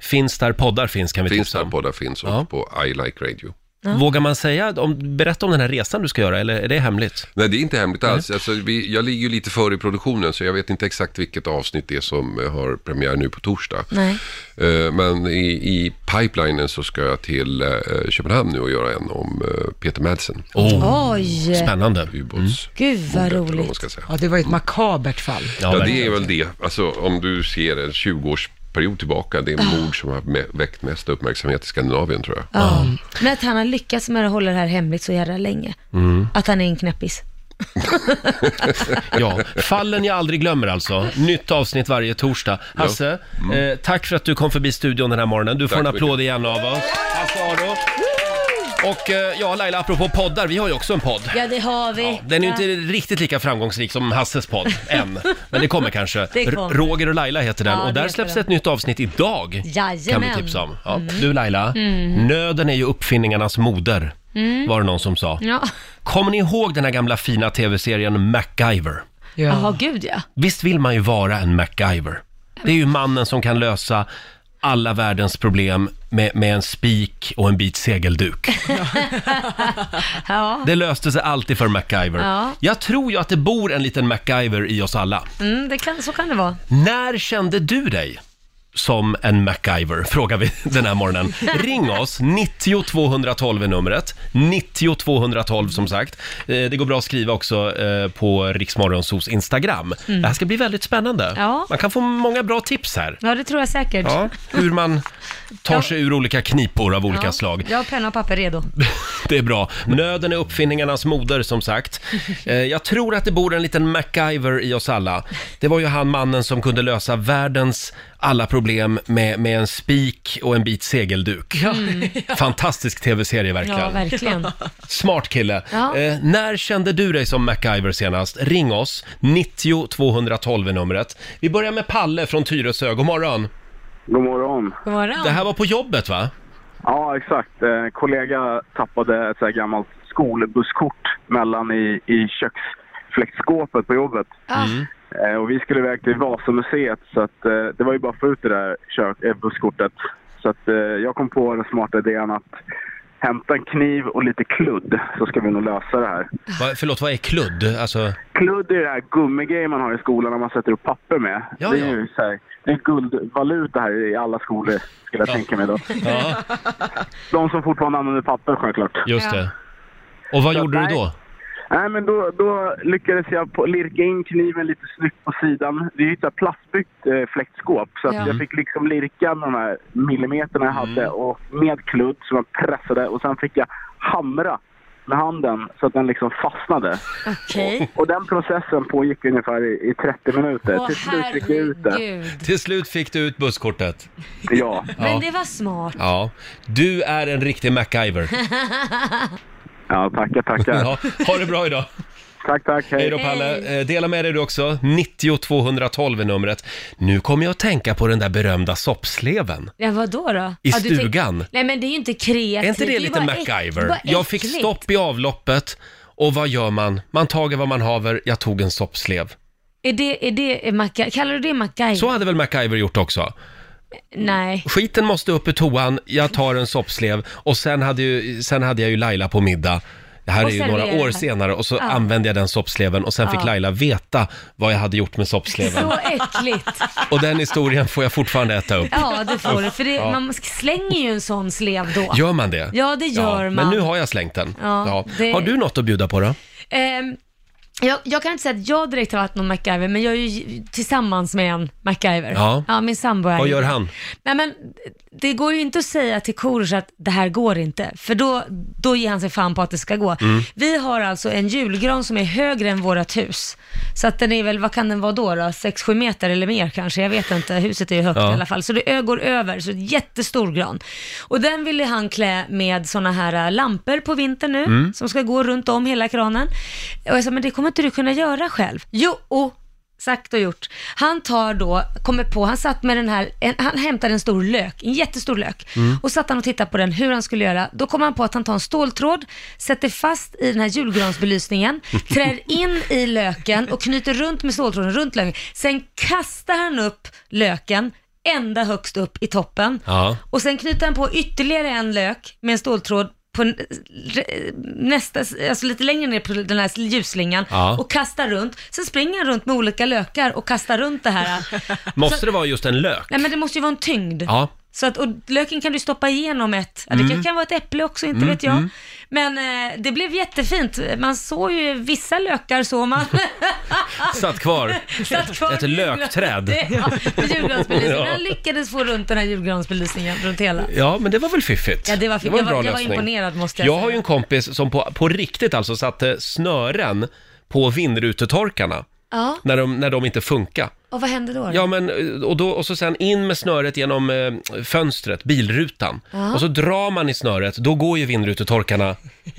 Speaker 1: Finns där poddar finns kan vi
Speaker 10: Finns
Speaker 1: tipsa
Speaker 10: där
Speaker 1: om.
Speaker 10: poddar finns och
Speaker 1: Mm. Ja.
Speaker 10: på I Like Radio.
Speaker 1: Vågar man säga, om, berätta om den här resan du ska göra eller är det hemligt?
Speaker 10: Nej, det är inte hemligt alls. Alltså, vi, jag ligger ju lite före i produktionen, så jag vet inte exakt vilket avsnitt det är som eh, har premiär nu på torsdag.
Speaker 2: Nej.
Speaker 10: Eh, Men i, i pipelinen så ska jag till eh, Köpenhamn nu och göra en om eh, Peter Madsen.
Speaker 1: Oh,
Speaker 2: Oj,
Speaker 1: spännande.
Speaker 10: Ubåts...
Speaker 2: gud vad
Speaker 10: eller vad man
Speaker 2: roligt.
Speaker 10: ska säga.
Speaker 3: Ja, det var ju ett makabert fall.
Speaker 10: Ja, det
Speaker 1: verkligen.
Speaker 10: är väl det. Alltså om du ser en 20-års period tillbaka det mord som har me- väckt mest uppmärksamhet i Skandinavien tror jag.
Speaker 2: Ah. Ja. Men att han har lyckats med att hålla det här hemligt så jävla länge.
Speaker 1: Mm.
Speaker 2: Att han är en knäppis.
Speaker 1: Ja, fallen jag aldrig glömmer alltså. Nytt avsnitt varje torsdag. Hasse, eh, tack för att du kom förbi studion den här morgonen. Du får
Speaker 10: Mm. Tack
Speaker 1: en
Speaker 10: så
Speaker 1: applåd igen av oss. Hasse Aro. Och eh, ja, Laila, apropå poddar, vi har ju också en podd.
Speaker 2: Ja, det har vi.
Speaker 1: Ja, den är ju inte riktigt lika framgångsrik som Hasses podd, än. Men det kommer kanske.
Speaker 2: Det kommer.
Speaker 1: R- Roger och Laila heter den
Speaker 2: Ja,
Speaker 1: och
Speaker 2: det
Speaker 1: där
Speaker 2: heter
Speaker 1: släpps
Speaker 2: den.
Speaker 1: ett nytt avsnitt idag. Kan vi
Speaker 2: Jajamän. Mm.
Speaker 1: tipsa om. Ja. Du Laila, nöden är ju uppfinningarnas moder, var det någon som sa.
Speaker 2: Mm. Ja.
Speaker 1: Kommer ni ihåg den här gamla fina tv-serien MacGyver?
Speaker 2: Jaha,
Speaker 3: Ja.
Speaker 2: gud ja.
Speaker 1: Visst vill man ju vara en MacGyver? Det är ju mannen som kan lösa alla världens problem med, med en spik och en bit segelduk.
Speaker 2: Ja,
Speaker 1: Det löste sig alltid för MacGyver.
Speaker 2: Ja.
Speaker 1: Jag tror ju att det bor en liten MacGyver i oss alla.
Speaker 2: mm, det kan, så kan det vara.
Speaker 1: När kände du dig som en MacGyver? Frågar vi den här morgonen. Ring oss, 90 212 är numret. 90 212 som sagt. Eh, Det går bra att skriva också eh, på Riksmorgonsos Instagram. Det här ska bli väldigt spännande.
Speaker 2: Mm. Ja.
Speaker 1: Man kan få många bra tips här.
Speaker 2: Ja, det tror jag säkert.
Speaker 1: Ja, hur man tar
Speaker 2: Ja.
Speaker 1: sig ur olika knipor av olika
Speaker 2: Ja.
Speaker 1: slag.
Speaker 2: Jag har penna och papper redo.
Speaker 1: Det är bra. Nöden är uppfinningarnas moder, som sagt. Eh, Jag tror att det bor en liten MacGyver i oss alla. Det var ju han mannen som kunde lösa världens alla problem med, med en spik och en bit segelduk. Fantastisk tv-serie verkligen.
Speaker 2: Ja, verkligen.
Speaker 1: Smart kille.
Speaker 2: Ja.
Speaker 1: Eh, när kände du dig som MacGyver senast? Ring oss, 90 212 är numret. Vi börjar med Palle från Tyresö. God morgon.
Speaker 7: God morgon.
Speaker 2: God morgon.
Speaker 1: Det här var på jobbet va?
Speaker 7: Ja, exakt. Eh, kollega tappade ett så här gammalt skolbusskort mellan i, i köksfläktskåpet på jobbet.
Speaker 2: Ah,
Speaker 5: Mm.
Speaker 7: Eh, och vi skulle iväg till Vasamuseet så att, eh, det var ju bara att få ut det där kök, eh, busskortet. Så att, eh, jag kom på den smarta idén att hämta en kniv och lite kludd så ska vi nog lösa det här.
Speaker 1: Va, förlåt, vad är kludd? Alltså,
Speaker 7: Kludd är det här gummigrejen man har i skolan när man sätter upp papper med.
Speaker 1: Ja,
Speaker 7: det är
Speaker 1: ja.
Speaker 7: ju så här, det är guldvaluta här i alla skolor skulle jag tänka mig då.
Speaker 1: ja,
Speaker 7: De som fortfarande använder papper självklart.
Speaker 1: just
Speaker 2: Ja.
Speaker 1: det. Och vad
Speaker 7: Så
Speaker 1: gjorde du
Speaker 7: nej.
Speaker 1: då?
Speaker 7: Nej, men då, då lyckades jag på, lirka in kniven lite snyggt på sidan. Det är ju ett så här plastbyggt eh, fläktskåp, så att
Speaker 2: Ja.
Speaker 7: jag fick liksom lirka med de här millimeterna jag hade och med kludd som jag pressade och sen fick jag hamra med handen så att den liksom fastnade.
Speaker 2: Okej.
Speaker 7: Och den processen pågick ungefär i, i 30 minuter.
Speaker 2: Åh,
Speaker 7: Till slut fick jag ut det.
Speaker 2: herregud.
Speaker 1: Till slut fick du ut busskortet.
Speaker 7: Ja,
Speaker 2: Men det var smart.
Speaker 1: Ja. Du är en riktig MacGyver.
Speaker 7: ja tackar, tackar.
Speaker 1: Ja. Ha det bra idag.
Speaker 7: Tack, tack.
Speaker 1: Hej då Palle. Eh, Dela med dig du också. 90 212 är numret. Nu kommer jag att tänka på den där berömda soppsleven.
Speaker 2: Ja, vadå då?
Speaker 1: I
Speaker 2: ja, du tänk-
Speaker 1: stugan.
Speaker 2: Nej, men det är ju inte kreativt.
Speaker 1: Är inte det
Speaker 2: är
Speaker 1: lite
Speaker 2: bara äck- det är
Speaker 1: MacGyver?
Speaker 2: bara
Speaker 1: Jag fick
Speaker 2: äckligt.
Speaker 1: stopp i avloppet och vad gör man? Man tager vad man haver, jag tog en soppslev.
Speaker 2: Är det, är det är Maca... Kallar du det MacGyver?
Speaker 1: Så hade väl MacGyver gjort också?
Speaker 2: Nej.
Speaker 1: Skiten måste upp i toan, jag tar en soppslev och sen hade, ju, sen hade jag ju Laila på middag. Det här
Speaker 2: Och
Speaker 1: är ju
Speaker 2: sen
Speaker 1: några
Speaker 2: är det
Speaker 1: år
Speaker 2: här.
Speaker 1: senare och så
Speaker 2: Ja.
Speaker 1: använde jag den soppsleven och sen fick
Speaker 2: Ja.
Speaker 1: Laila veta vad jag hade gjort med soppsleven.
Speaker 2: Så äckligt.
Speaker 1: Och den historien får jag fortfarande äta upp.
Speaker 2: Ja, det får du. För det, man slänger ju en sån slev då.
Speaker 1: Gör man det?
Speaker 2: Ja, det gör man.
Speaker 1: Men nu har jag slängt den. Ja,
Speaker 2: Ja, det-
Speaker 1: Har du något att bjuda på då?
Speaker 2: Ehm, jag, jag kan inte säga att jag direkt har varit någon MacGyver, men jag är ju tillsammans med en MacGyver.
Speaker 1: Ja.
Speaker 2: min sambo är
Speaker 1: Vad
Speaker 2: ju-
Speaker 1: gör han?
Speaker 2: Nej men, det går ju inte att säga till Korosh att det här går inte, för då, då ger han sig fan på att det ska gå. Vi har alltså en julgran som är högre än vårt hus. Så att den är väl, vad kan den vara då? då? 6-7 meter eller mer kanske, jag vet inte. Huset är ju högt
Speaker 1: Ja.
Speaker 2: i alla fall. Så det ö- går över, så en jättestor gran. Och den ville han klä med sådana här äh, lampor på vintern nu, som ska gå runt om hela kranen. Och jag sa, men det kommer inte du kunna göra själv. Jo, och Sagt och gjort. Han tar då, kommer på, han satt med den här, en, han hämtade en stor lök, en jättestor lök. Och satt han och tittade på den, hur han skulle göra. Då kom han på att han tar en ståltråd, sätter fast i den här julgransbelysningen, trär in i löken och knyter runt med ståltråden runt löken. Sen kastar han upp löken ända högst upp i toppen.
Speaker 1: Ja.
Speaker 2: Och sen knyter han på ytterligare en lök med en ståltråd på n- re- nästa, alltså lite längre ner på den här ljusslingan
Speaker 1: Ja.
Speaker 2: och kastar runt. Sen springer han runt med olika lökar och kastar runt det här.
Speaker 1: Måste det vara just en lök?
Speaker 2: Nej men det måste ju vara en tyngd.
Speaker 1: Ja.
Speaker 2: Så att, och löken kan du stoppa igenom ett, ja, det
Speaker 11: Mm.
Speaker 2: kan- kan vara ett äpple också, inte
Speaker 11: Mm,
Speaker 2: vet jag.
Speaker 11: mm.
Speaker 2: Men eh, det blev jättefint. Man såg ju vissa lökar så man.
Speaker 1: Satt kvar.
Speaker 2: Satt kvar
Speaker 1: Ett
Speaker 2: vid
Speaker 1: lökträd.
Speaker 2: Ja, vid julgransbelysningen.
Speaker 1: Ja.
Speaker 2: Han lyckades få runt den här julgransbelysningen runt hela.
Speaker 1: Ja, men det var väl fiffigt?
Speaker 2: Ja, det var, fint.
Speaker 1: en
Speaker 2: jag, var,
Speaker 1: bra
Speaker 2: jag var
Speaker 1: lösning.
Speaker 2: imponerad måste jag,
Speaker 1: Jag
Speaker 2: säga.
Speaker 1: har ju en kompis som på, på riktigt alltså satte snören på vindrutetorkarna
Speaker 2: Ja,
Speaker 1: när de, när de inte funkar.
Speaker 2: och vad hände då? då?
Speaker 1: Ja, men, eh, och, då, och så sen in med snöret genom eh, fönstret, bilrutan.
Speaker 2: Ja.
Speaker 1: Och så drar man i snöret, då går ju vindrutetorkarna.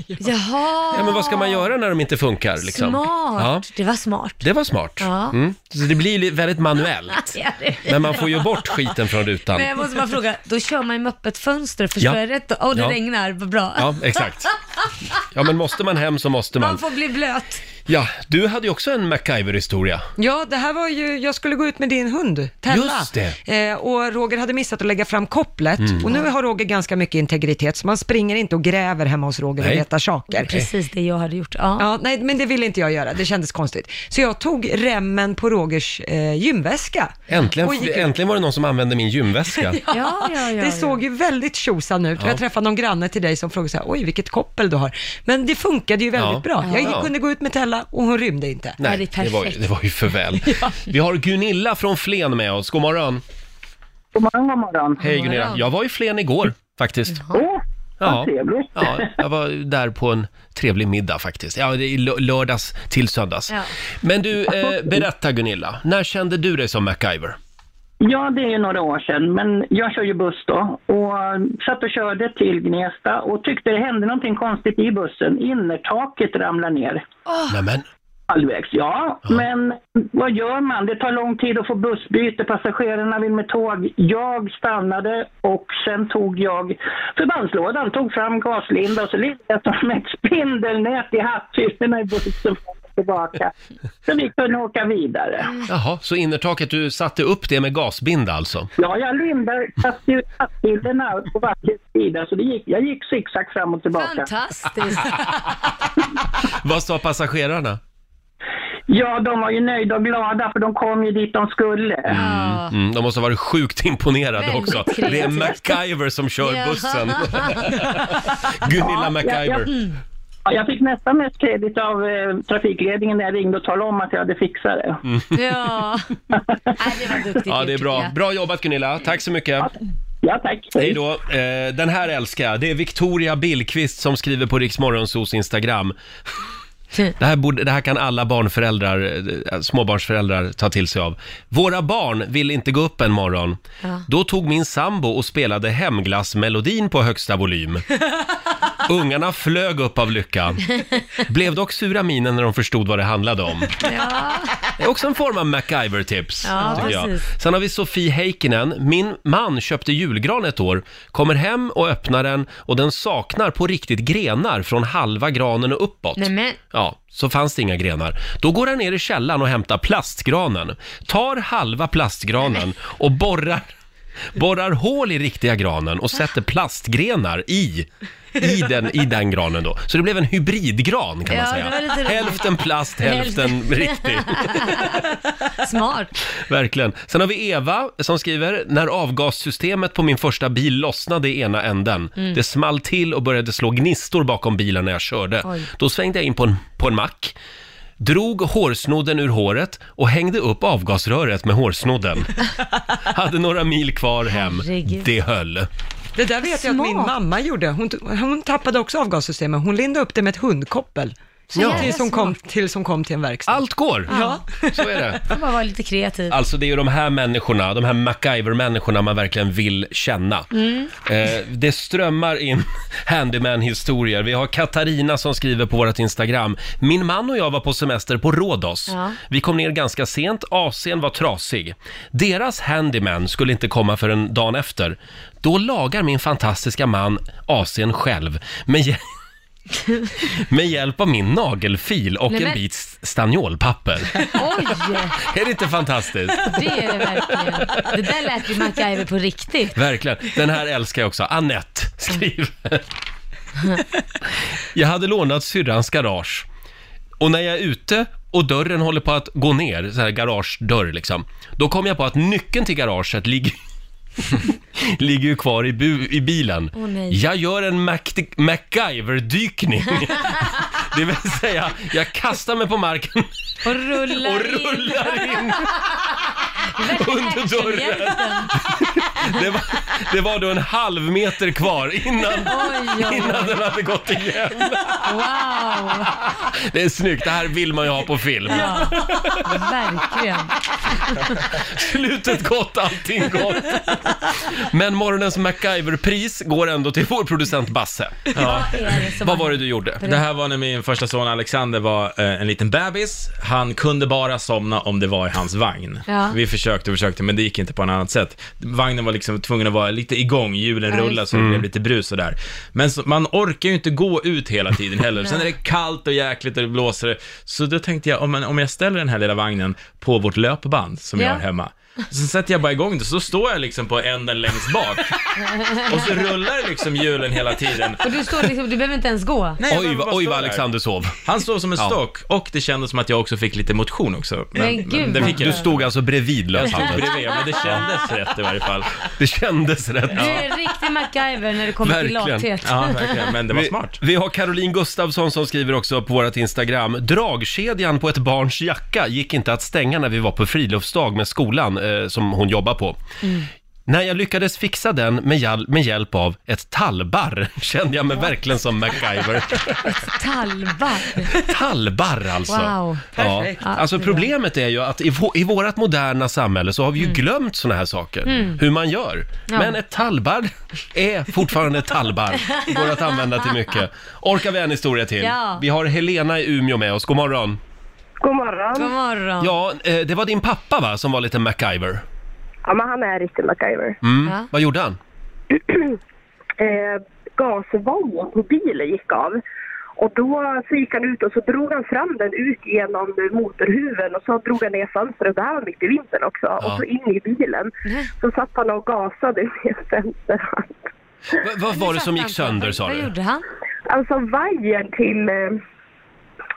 Speaker 2: Jaha,
Speaker 1: Ja, men vad ska man göra när de inte funkar? Liksom?
Speaker 2: smart.
Speaker 1: Ja,
Speaker 2: Det var smart.
Speaker 1: det var smart.
Speaker 2: Ja.
Speaker 1: Mm. Så det blir li- väldigt manuellt.
Speaker 2: Ja, det-
Speaker 1: Men man får ju bort skiten från rutan.
Speaker 2: Men jag måste bara fråga, då kör man ju med öppet fönster, förstår
Speaker 1: Ja.
Speaker 2: jag rätt då? Åh, det
Speaker 1: Ja.
Speaker 2: regnar, vad bra.
Speaker 1: Ja, exakt. Ja, men måste man hem så måste man.
Speaker 2: Man får bli blöt.
Speaker 1: Ja, du hade ju också en MacGyver-historia.
Speaker 3: Ja, det här var ju, jag skulle gå ut med din hund, Tella.
Speaker 1: Just
Speaker 3: Eh, och Roger hade missat att lägga fram kopplet.
Speaker 1: Mm.
Speaker 3: Och nu har Roger ganska mycket integritet, så man springer inte och gräver hemma hos Roger
Speaker 2: Nej.
Speaker 3: och letar saker.
Speaker 2: Precis det jag hade gjort. Ja.
Speaker 3: nej, men det ville inte jag göra. Det kändes konstigt. Så jag tog remmen på Rogers eh, gymväska.
Speaker 1: Äntligen,
Speaker 3: Och gick ut.
Speaker 1: äntligen var det någon som använde min gymväska.
Speaker 3: Ja, det såg ju väldigt tjosan ut.
Speaker 1: Ja.
Speaker 3: Och jag träffade någon granne till dig som frågade så här, oj vilket koppel du har. Men det funkade ju väldigt
Speaker 1: Ja.
Speaker 3: bra. Jag
Speaker 1: Ja.
Speaker 3: kunde gå ut med Tella och hon rymde inte.
Speaker 1: Nej, det, var, ju- det var ju för väl. Vi har Gunilla från Flen med oss. God morgon.
Speaker 12: God morgon, god morgon.
Speaker 1: Hej Gunilla. Jag var i Flen igår faktiskt.
Speaker 12: Åh, vad trevligt.
Speaker 1: ja, jag var där på en trevlig middag faktiskt. Ja, det är lö- lördags till söndags.
Speaker 12: Ja.
Speaker 1: Men du, eh, berätta Gunilla. När kände du dig som MacGyver?
Speaker 12: Ja, det är ju några år sedan, men jag kör ju buss då. Och eh, satt och körde till Gnesta och tyckte det hände någonting konstigt i bussen. Innertaket ramlar ner.
Speaker 1: Nämen.
Speaker 12: Halvvägs, ja. Men vad gör man? Det tar lång tid att få bussbyte. Passagerarna vill med tåg. Jag stannade och sen tog jag förbandslådan, tog fram gaslinda och så lindade jag som ett spindelnät i hatthyllorna i bussen fram och tillbaka. Så vi kunde åka vidare.
Speaker 1: Jaha, så innertaket, du satte upp det med gasbinda alltså?
Speaker 12: Ja, jag lindar hatthyllorna på varje sida så det gick, jag gick zigzag fram och tillbaka.
Speaker 2: Fantastiskt.
Speaker 1: Vad sa passagerarna?
Speaker 12: Ja, de var ju nöjda och glada för de kom ju dit de skulle.
Speaker 1: Mm, de måste ha varit sjukt imponerade
Speaker 12: Väldigt
Speaker 1: också. Det är
Speaker 12: kreativt.
Speaker 1: MacGyver som kör
Speaker 12: Ja.
Speaker 1: bussen. Gunilla
Speaker 12: Ja,
Speaker 1: MacGyver.
Speaker 12: jag, ja, jag fick nästan mest kredit av eh, trafikledningen när jag ringde och talade om att jag hade fixat det.
Speaker 1: Mm.
Speaker 2: Ja. Nej, det var duktigt
Speaker 1: Ja, det är
Speaker 2: gjort,
Speaker 1: bra.
Speaker 2: tycker
Speaker 1: Bra jobbat Gunilla. Tack så mycket.
Speaker 12: Ja, tack.
Speaker 1: Hej då. Eh, Den här älskar jag. Det är Victoria Billqvist som skriver på Riksmorgonsos Instagram. Det här, borde, det här kan alla barnföräldrar, eh, småbarnsföräldrar ta till sig av. Våra barn vill inte gå upp en morgon.
Speaker 11: Ja.
Speaker 1: Då tog min sambo och spelade hemglassmelodin på högsta volym. Ungarna flög upp av lycka. Blev dock sura minen när de förstod vad det handlade om.
Speaker 2: Ja.
Speaker 1: Det är också en form av MacGyver-tips.
Speaker 2: Ja,
Speaker 1: tycker jag.
Speaker 2: precis.
Speaker 1: Sen har vi Sofie Heikkinen. Min man köpte julgran ett år, kommer hem och öppnar den och den saknar på riktigt grenar från halva granen och uppåt.
Speaker 2: Nej, men.
Speaker 1: Ja, så fanns det inga grenar. Då går han ner i källaren och hämtar plastgranen, tar halva plastgranen och borrar borrar hål i riktiga granen och sätter plastgrenar i, i, den, i den granen då. Så det blev en hybridgran kan man
Speaker 2: Ja, det var lite
Speaker 1: säga.
Speaker 2: roligt.
Speaker 1: Hälften plast, hälften riktig.
Speaker 2: Smart.
Speaker 1: Verkligen. Sen har vi Eva som skriver, när avgassystemet på min första bil lossnade i ena änden,
Speaker 11: Mm.
Speaker 1: det small till och började slå gnistor bakom bilen när jag körde.
Speaker 11: Oj.
Speaker 1: Då svängde jag in på en, på en mack, drog hårsnodden ur håret och hängde upp avgasröret med hårsnodden. Hade några mil kvar hem.
Speaker 3: Herregud.
Speaker 1: Det höll.
Speaker 3: Det där vet jag att min mamma gjorde. Hon, hon tappade också avgassystemet. Hon lindade upp det med ett hundkoppel.
Speaker 1: Så Ja. jävla
Speaker 3: Tills, hon kom, tills hon kom till en verkstad.
Speaker 1: Allt går!
Speaker 3: Ja.
Speaker 1: Så är det.
Speaker 2: Får bara vara lite kreativ.
Speaker 1: Alltså det är ju de här människorna, de här MacGyver-människorna man verkligen vill känna.
Speaker 2: Mm.
Speaker 1: Eh, det strömmar in handyman-historier. Vi har Katarina som skriver på vårt Instagram. Min man och jag var på semester på Rhodos.
Speaker 11: Ja.
Speaker 1: Vi kom ner ganska sent, AC'n var trasig. Deras handyman skulle inte komma förrän dagen efter. Då lagar min fantastiska man AC'n själv med, hj- med hjälp av min nagelfil och
Speaker 2: Nej,
Speaker 1: en
Speaker 2: men-
Speaker 1: bit s- stanniolpapper.
Speaker 2: Oj,
Speaker 1: Är det inte fantastiskt?
Speaker 2: det är det verkligen. Det där lät ju MacGyver på riktigt.
Speaker 1: Verkligen. Den här älskar jag också. Annette skriver. Jag hade lånat syrrans garage. Och när jag är ute och dörren håller på att gå ner, så här garagedörr liksom, då kom jag på att nyckeln till garaget ligger ligger ju kvar i, bu- i bilen.
Speaker 2: Åh, nej.
Speaker 1: jag gör en Mac- MacGyver-dykning. det vill säga, jag kastar mig på marken
Speaker 2: Och rullar,
Speaker 1: Och rullar in. under dörren. Det var, det var då en halv meter kvar innan,
Speaker 2: Oj, oj,
Speaker 1: innan den hade gått igen.
Speaker 2: Wow!
Speaker 1: Det är snyggt, det här vill man ju ha på film.
Speaker 2: Ja, verkligen.
Speaker 1: Slutet gott, allting gott. Men morgonens MacGyver-pris går ändå till vår producent Basse.
Speaker 5: Ja.
Speaker 1: Vad var det du gjorde?
Speaker 5: Det här var när min första son Alexander var eh, en liten bebis. Han kunde bara somna om det var i hans vagn.
Speaker 1: Ja.
Speaker 5: Vi försökte och försökte, men det gick inte på något annat sätt. Vagnen var liksom tvungen att vara lite igång, hjulen
Speaker 1: Ja,
Speaker 5: rullade
Speaker 1: just
Speaker 5: så det
Speaker 1: det.
Speaker 5: blev lite brus och där. Men så, man orkar ju inte gå ut hela tiden heller.
Speaker 1: Nej.
Speaker 5: Sen är det kallt och jäkligt och det blåser. Så då tänkte jag, om, om jag ställer den här lilla vagnen på vårt löpband som
Speaker 2: Ja.
Speaker 5: jag har hemma. Sen sätter jag bara igång det, så står jag liksom på änden längst bak. Och så rullar liksom hjulen hela tiden.
Speaker 2: Och du står liksom, du behöver inte ens gå.
Speaker 5: Oj, oj vad Alexander
Speaker 1: sov.
Speaker 5: Han sov som en
Speaker 1: Ja.
Speaker 5: stock och det kändes som att jag också fick lite motion också.
Speaker 2: Men gud,
Speaker 5: det
Speaker 2: vad
Speaker 5: fick jag.
Speaker 2: skönt.
Speaker 1: Du stod alltså bredvid löshandeln?
Speaker 5: Jag stod bredvid, men det kändes rätt i varje fall.
Speaker 1: Det kändes rätt.
Speaker 2: Du är en riktig MacGyver när det kommer till lathet.
Speaker 1: vi, Vi har Caroline Gustafsson som skriver också på vårt Instagram. Dragkedjan på ett barns jacka gick inte att stänga när vi var på friluftsdag med skolan eh, som hon jobbar på. När jag lyckades fixa den med, hjäl- med hjälp av ett tallbarr kände jag mig verkligen som MacGyver.
Speaker 2: Talvar.
Speaker 1: Tallbarr alltså.
Speaker 2: Wow.
Speaker 1: Ja.
Speaker 2: Perfekt.
Speaker 1: Alltså problemet är ju att i, vå- i vårt moderna samhälle så har vi ju glömt såna här saker,
Speaker 2: Mm.
Speaker 1: hur man gör.
Speaker 2: Ja.
Speaker 1: Men ett tallbarr är fortfarande ett tallbarr. Går att använda till mycket. Orkar vi en historia till?
Speaker 11: Ja.
Speaker 1: Vi har Helena i Umeå med oss, god morgon.
Speaker 11: God morgon.
Speaker 2: God morgon.
Speaker 1: Ja, eh, det var din pappa va, som var lite MacGyver?
Speaker 11: Ja, men han är riktig MacGyver.
Speaker 1: Mm. Vad gjorde han?
Speaker 11: eh, gasvågen på bilen gick av. Och då så gick han ut och så drog han fram den ut genom motorhuven och så drog han ner fönstret. Det här var mitt i vintern också. Och så in i bilen. Så satt han och gasade med fönstret.
Speaker 1: Va- vad var det som gick sönder sa du?
Speaker 2: han?
Speaker 11: Alltså vajern till, eh,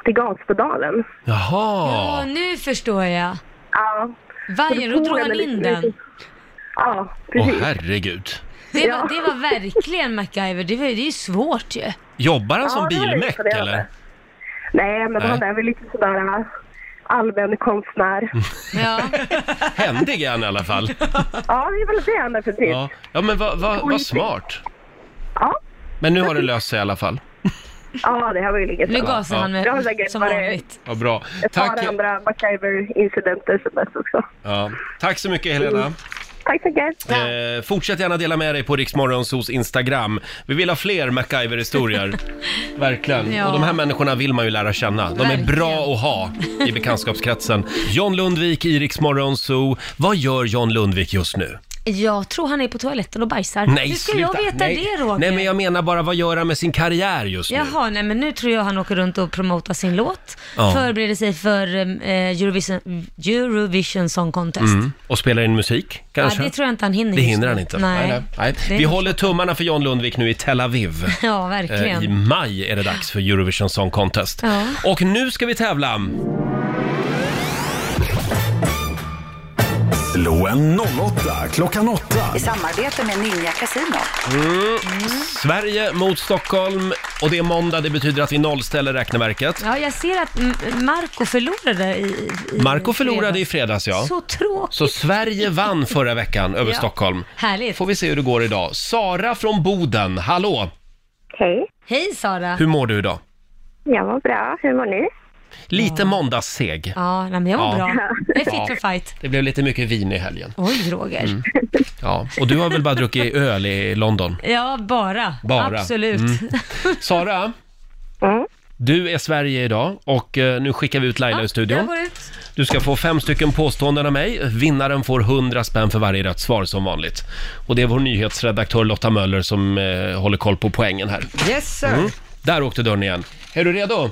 Speaker 11: till gaspedalen.
Speaker 1: Jaha.
Speaker 2: Ja, nu förstår jag.
Speaker 11: Ja.
Speaker 2: Vajern, då drog han in den.
Speaker 11: Ja,
Speaker 1: Åh
Speaker 11: precis.
Speaker 1: herregud.
Speaker 2: Det var, det var verkligen MacGyver. Det, var, det är ju svårt ju.
Speaker 1: Jobbar han
Speaker 11: Ja,
Speaker 1: som
Speaker 11: det är
Speaker 1: bilmäck
Speaker 11: imponerande.
Speaker 1: eller?
Speaker 11: Nej, men
Speaker 1: Nej.
Speaker 11: han är väl lite sådär eh, allmän konstnär.
Speaker 1: Mm. Händig är han i alla fall.
Speaker 11: Ja, det är väl det han är för typ. till.
Speaker 1: Ja, ja men vad vad- vad smart. Men nu har det löst sig i alla fall.
Speaker 11: Ja, det här var ju inget
Speaker 1: Nu
Speaker 11: bra.
Speaker 1: gasar han med-
Speaker 11: Det har säkert
Speaker 2: som
Speaker 11: varit
Speaker 2: vanligt.
Speaker 1: Vad bra.
Speaker 11: Ett
Speaker 1: Tack,
Speaker 11: par andra MacGyver-incidenter som mest också.
Speaker 1: ja. Tack så mycket
Speaker 2: Mm.
Speaker 1: Helena.
Speaker 11: Tack så mycket.
Speaker 1: Eh, fortsätt gärna dela med dig på Riksmorgonsos Instagram. Vi vill ha fler MacGyver-historier. Verkligen.
Speaker 2: Ja.
Speaker 1: Och de här människorna vill man ju lära känna. De är
Speaker 2: Verkligen.
Speaker 1: bra att ha i bekantskapskretsen. John Lundvik i Riksmorgonso. Vad gör John Lundvik just nu?
Speaker 2: Jag tror han är på toaletten och bajsar.
Speaker 1: Nej,
Speaker 2: Hur ska
Speaker 1: sluta.
Speaker 2: jag veta
Speaker 1: nej.
Speaker 2: det Roger?
Speaker 1: Nej, men jag menar bara vad gör han med sin karriär just nu?
Speaker 2: Jaha, nej men nu tror jag han åker runt och promotar sin låt.
Speaker 1: Mm. Ja.
Speaker 2: Förbereder sig för eh, Eurovision, Eurovision Song Contest.
Speaker 1: Mm. Och spelar in musik, kanske?
Speaker 2: Ja, det tror jag inte han hinner
Speaker 1: Det
Speaker 2: just
Speaker 1: hinner
Speaker 2: nu.
Speaker 1: han inte.
Speaker 2: Nej.
Speaker 1: nej, nej.
Speaker 2: Det är
Speaker 1: Vi
Speaker 2: nog
Speaker 1: håller tummarna för John Lundvik nu i Tel Aviv.
Speaker 2: Ja,
Speaker 1: Eh, I
Speaker 2: verkligen.
Speaker 1: maj är det dags för Eurovision Song Contest.
Speaker 2: Ja.
Speaker 1: Och nu ska vi tävla. Mm.
Speaker 4: Slå en 08 klockan 8.
Speaker 8: I samarbete med Ninja Casino.
Speaker 1: Mm. Sverige mot Stockholm och det är måndag, det betyder att vi nollställer räkneverket.
Speaker 2: Ja, jag ser att M- Marco förlorade i, i
Speaker 1: Marco förlorade i fredags ja.
Speaker 2: Så tråkigt.
Speaker 1: Så Sverige vann förra veckan över
Speaker 2: Ja.
Speaker 1: Stockholm.
Speaker 2: Härligt.
Speaker 1: Får vi se hur det går idag. Sara från Boden, hallå!
Speaker 11: Hej.
Speaker 2: Hej Sara.
Speaker 1: Hur mår du idag?
Speaker 11: Jag mår bra. Hur mår ni?
Speaker 1: Lite måndagsseg.
Speaker 2: Ja, nej, men jag mår
Speaker 1: Ja.
Speaker 2: bra. Jag är fit
Speaker 1: Ja.
Speaker 2: for fight.
Speaker 1: Det blev lite mycket vin i helgen.
Speaker 2: Oj, Roger.
Speaker 1: Mm. Ja, och du har väl bara druckit öl i London?
Speaker 2: Ja, bara.
Speaker 1: Bara.
Speaker 2: Absolut.
Speaker 1: Mm. Sara, du är Sverige idag och eh, nu skickar vi ut Laila i
Speaker 2: Jag
Speaker 1: studion.
Speaker 2: går ut.
Speaker 1: Du ska få fem stycken påståenden av mig. Vinnaren får 100 spänn för varje rätt svar som vanligt. Och det är vår nyhetsredaktör Lotta Möller som eh, håller koll på poängen här.
Speaker 3: Yes sir.
Speaker 1: Mm. Där åkte dörren igen. Är du redo?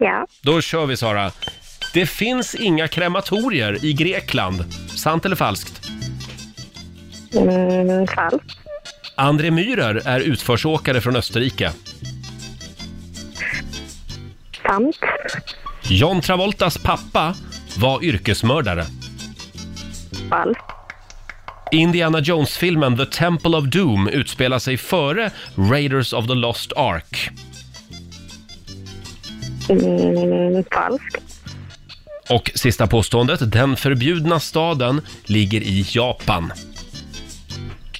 Speaker 11: Ja.
Speaker 1: Då kör vi Sara. Det finns inga krematorier i Grekland. Sant eller falskt?
Speaker 11: Mm, falskt.
Speaker 1: André Myhrer är utförsåkare från Österrike.
Speaker 11: Sant.
Speaker 1: John Travoltas pappa var yrkesmördare.
Speaker 11: Falskt.
Speaker 1: Indiana Jones-filmen The Temple of Doom utspelar sig före Raiders of the Lost Ark.
Speaker 11: Mm, falskt.
Speaker 1: Och sista påståendet, den förbjudna staden ligger i Japan.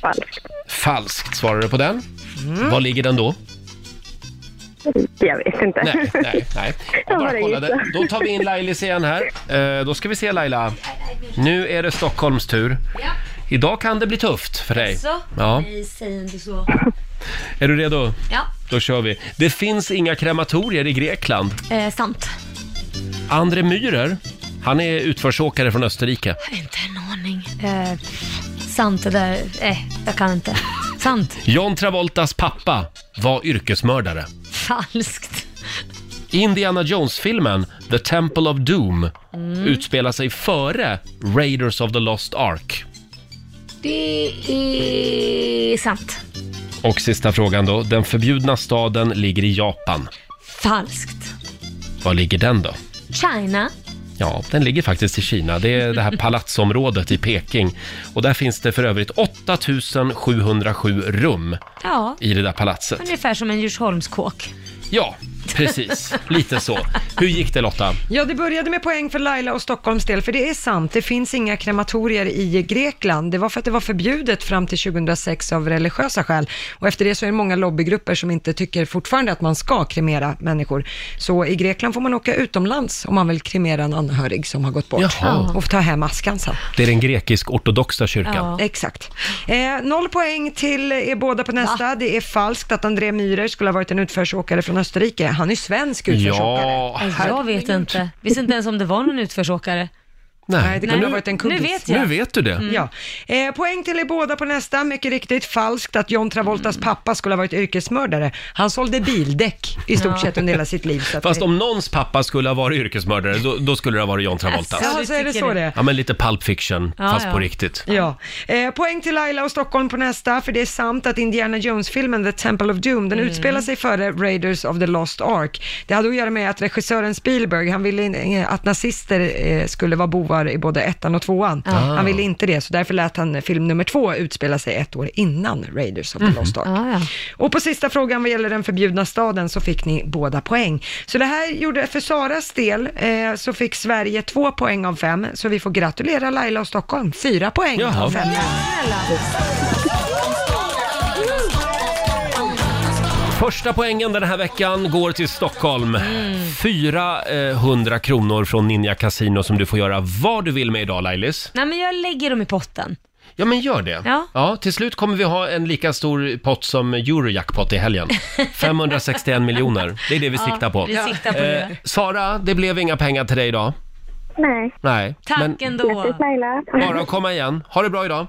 Speaker 11: Falskt.
Speaker 1: Falskt svarar du på den. Var ligger den då?
Speaker 11: Jag vet inte.
Speaker 1: Nej, nej, nej. Jag bara kollade. Då tar vi in Lailis igen här. Eh, då ska vi se Laila. Nu är det Stockholms tur.
Speaker 2: Ja.
Speaker 1: Idag kan det bli tufft för dig.
Speaker 2: Så?
Speaker 1: Ja.
Speaker 2: Nej, säg inte så.
Speaker 1: Är du redo?
Speaker 2: Ja,
Speaker 1: Då kör vi. Det finns inga krematorier i Grekland.
Speaker 2: eh, sant.
Speaker 1: André Myhrer, han är utförsåkare från Österrike.
Speaker 2: Inte en aning. Eh, sant det där. Eh, jag kan inte. Sant.
Speaker 1: John Travoltas pappa var yrkesmördare.
Speaker 2: Falskt.
Speaker 1: Indiana Jones-filmen The Temple of Doom
Speaker 2: Mm.
Speaker 1: utspelar sig före Raiders of the Lost Ark.
Speaker 2: Det är sant.
Speaker 1: Och sista frågan då. Den förbjudna staden ligger i Japan.
Speaker 2: Falskt.
Speaker 1: Var ligger den då?
Speaker 2: China.
Speaker 1: Ja, den ligger faktiskt i Kina. Det är det här palatsområdet i Peking. Och där finns det för övrigt 8707 rum
Speaker 2: Ja,
Speaker 1: i det där palatset.
Speaker 2: ungefär som en Djursholmskåk.
Speaker 1: Ja, precis. Lite så. Hur gick det Lotta?
Speaker 3: Ja, det började med poäng för Laila och Stockholms del, för det är sant, det finns inga krematorier i Grekland. Det var för att det var förbjudet fram till 2006 av religiösa skäl. Och efter det så är det många lobbygrupper som inte tycker fortfarande att man ska kremera människor. Så i Grekland får man åka utomlands om man vill kremera en anhörig som har gått bort.
Speaker 1: Jaha.
Speaker 3: Och ta hem askan sen.
Speaker 1: Det är den grekisk-ortodoxa kyrkan.
Speaker 3: Exakt. Eh, noll poäng till er båda på nästa. Det är falskt att André Myhrer skulle ha varit en utförsåkare från Österrike. Han är svensk utförsåkare.
Speaker 1: Ja.
Speaker 2: Nej, Jag vet inte. Visste inte ens om det var någon utförsåkare.
Speaker 1: Nej,
Speaker 3: Nej, det kunde
Speaker 1: men
Speaker 3: ha
Speaker 1: nu-
Speaker 3: varit en kuggis.
Speaker 2: nu vet jag. Nu
Speaker 1: vet du det.
Speaker 2: Mm.
Speaker 3: Ja. Eh, poäng till er båda på nästa, mycket riktigt falskt att John Travoltas pappa skulle ha varit yrkesmördare. Han sålde bildäck i stort
Speaker 1: Ja.
Speaker 3: sett under hela sitt liv. Så att
Speaker 1: Fast
Speaker 3: det-
Speaker 1: om någons pappa skulle ha varit yrkesmördare, då, då skulle det ha varit John Travoltas.
Speaker 3: Alltså, Ja, så är det så det är.
Speaker 1: Ja, men lite Pulp Fiction,
Speaker 3: Ja,
Speaker 1: fast
Speaker 3: ja.
Speaker 1: på riktigt.
Speaker 3: Ja. Eh, poäng till Laila och Stockholm på nästa, för det är sant att Indiana Jones-filmen The Temple of Doom, den utspelar sig före Raiders of the Lost Ark. Det hade att göra med att regissören Spielberg, han ville in- eh, att nazister eh, skulle vara bovar i både ettan och tvåan.
Speaker 2: Ah.
Speaker 3: Han ville inte det, så därför lät han film nummer två utspela sig ett år innan Raiders of the Lost Ark. Och på sista frågan vad gäller den förbjudna staden så fick ni båda poäng. Så det här gjorde, för Saras del, eh, så fick Sverige två poäng av fem, så vi får gratulera Laila och Stockholm, fyra poäng
Speaker 1: Jaha.
Speaker 3: av fem.
Speaker 1: Första poängen den här veckan går till Stockholm. 400 kronor från Ninja Casino som du får göra vad du vill med idag Lailis.
Speaker 2: Nej, men jag lägger dem i potten.
Speaker 1: Ja men gör det.
Speaker 2: Ja.
Speaker 1: till slut kommer vi ha en lika stor pott som Eurojackpot i helgen. 561 miljoner, det är det vi
Speaker 2: Ja,
Speaker 1: siktar på. Eh,
Speaker 2: vi siktar på det.
Speaker 1: Sara, det blev inga pengar till dig idag.
Speaker 11: Nej.
Speaker 1: Nej.
Speaker 11: Tack
Speaker 1: men
Speaker 2: ändå.
Speaker 11: Grattis Laila.
Speaker 1: Bara att komma igen. Ha det bra idag.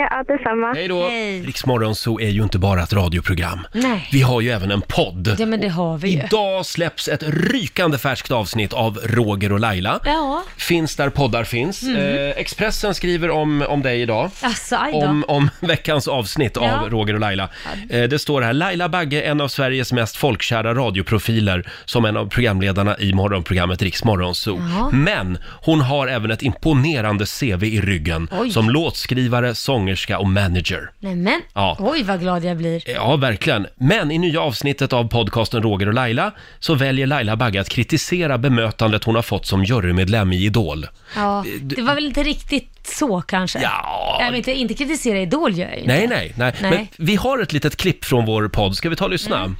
Speaker 11: Ja, detsamma.
Speaker 1: Hej då. Riksmorgon så är ju inte bara ett radioprogram.
Speaker 2: Nej.
Speaker 1: Vi har ju även en podd.
Speaker 2: Ja, men det har vi ju.
Speaker 1: Idag släpps ett rykande färskt avsnitt av Roger och Laila.
Speaker 2: Ja.
Speaker 1: Finns där poddar finns.
Speaker 2: Mm.
Speaker 1: Eh, Expressen skriver om, om dig idag.
Speaker 2: Alltså, aj då.
Speaker 1: Om, om veckans avsnitt
Speaker 2: Ja.
Speaker 1: av Roger och Laila. Eh, det står här, Laila Bagge, en av Sveriges mest folkkära radioprofiler, som en av programledarna i morgonprogrammet Riksmorgon Zoo.
Speaker 13: Ja.
Speaker 1: Men hon har även ett imponerande CV i ryggen,
Speaker 2: Oj.
Speaker 1: som låtskrivare, sångerska och manager.
Speaker 2: Nej, men.
Speaker 1: Ja.
Speaker 2: Oj, vad glad jag blir.
Speaker 1: Eh, Ja, verkligen. Men i nya avsnittet av podcasten Roger och Laila så väljer Laila Bagge att kritisera bemötandet hon har fått som jurymedlem i Idol.
Speaker 2: Ja, det var väl inte riktigt så kanske? Ja. Jag vet inte, inte kritisera Idol gör jag ju inte.
Speaker 1: Nej, nej, nej,
Speaker 2: Nej.
Speaker 1: Men vi har ett litet klipp från vår podd. Ska vi ta och lyssna?
Speaker 2: Mm.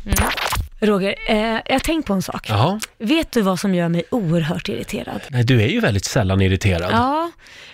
Speaker 2: Roger, eh, jag har tänkt på en sak.
Speaker 1: Jaha.
Speaker 2: Vet du vad som gör mig oerhört irriterad?
Speaker 1: Nej, du är ju väldigt sällan irriterad.
Speaker 2: Ja,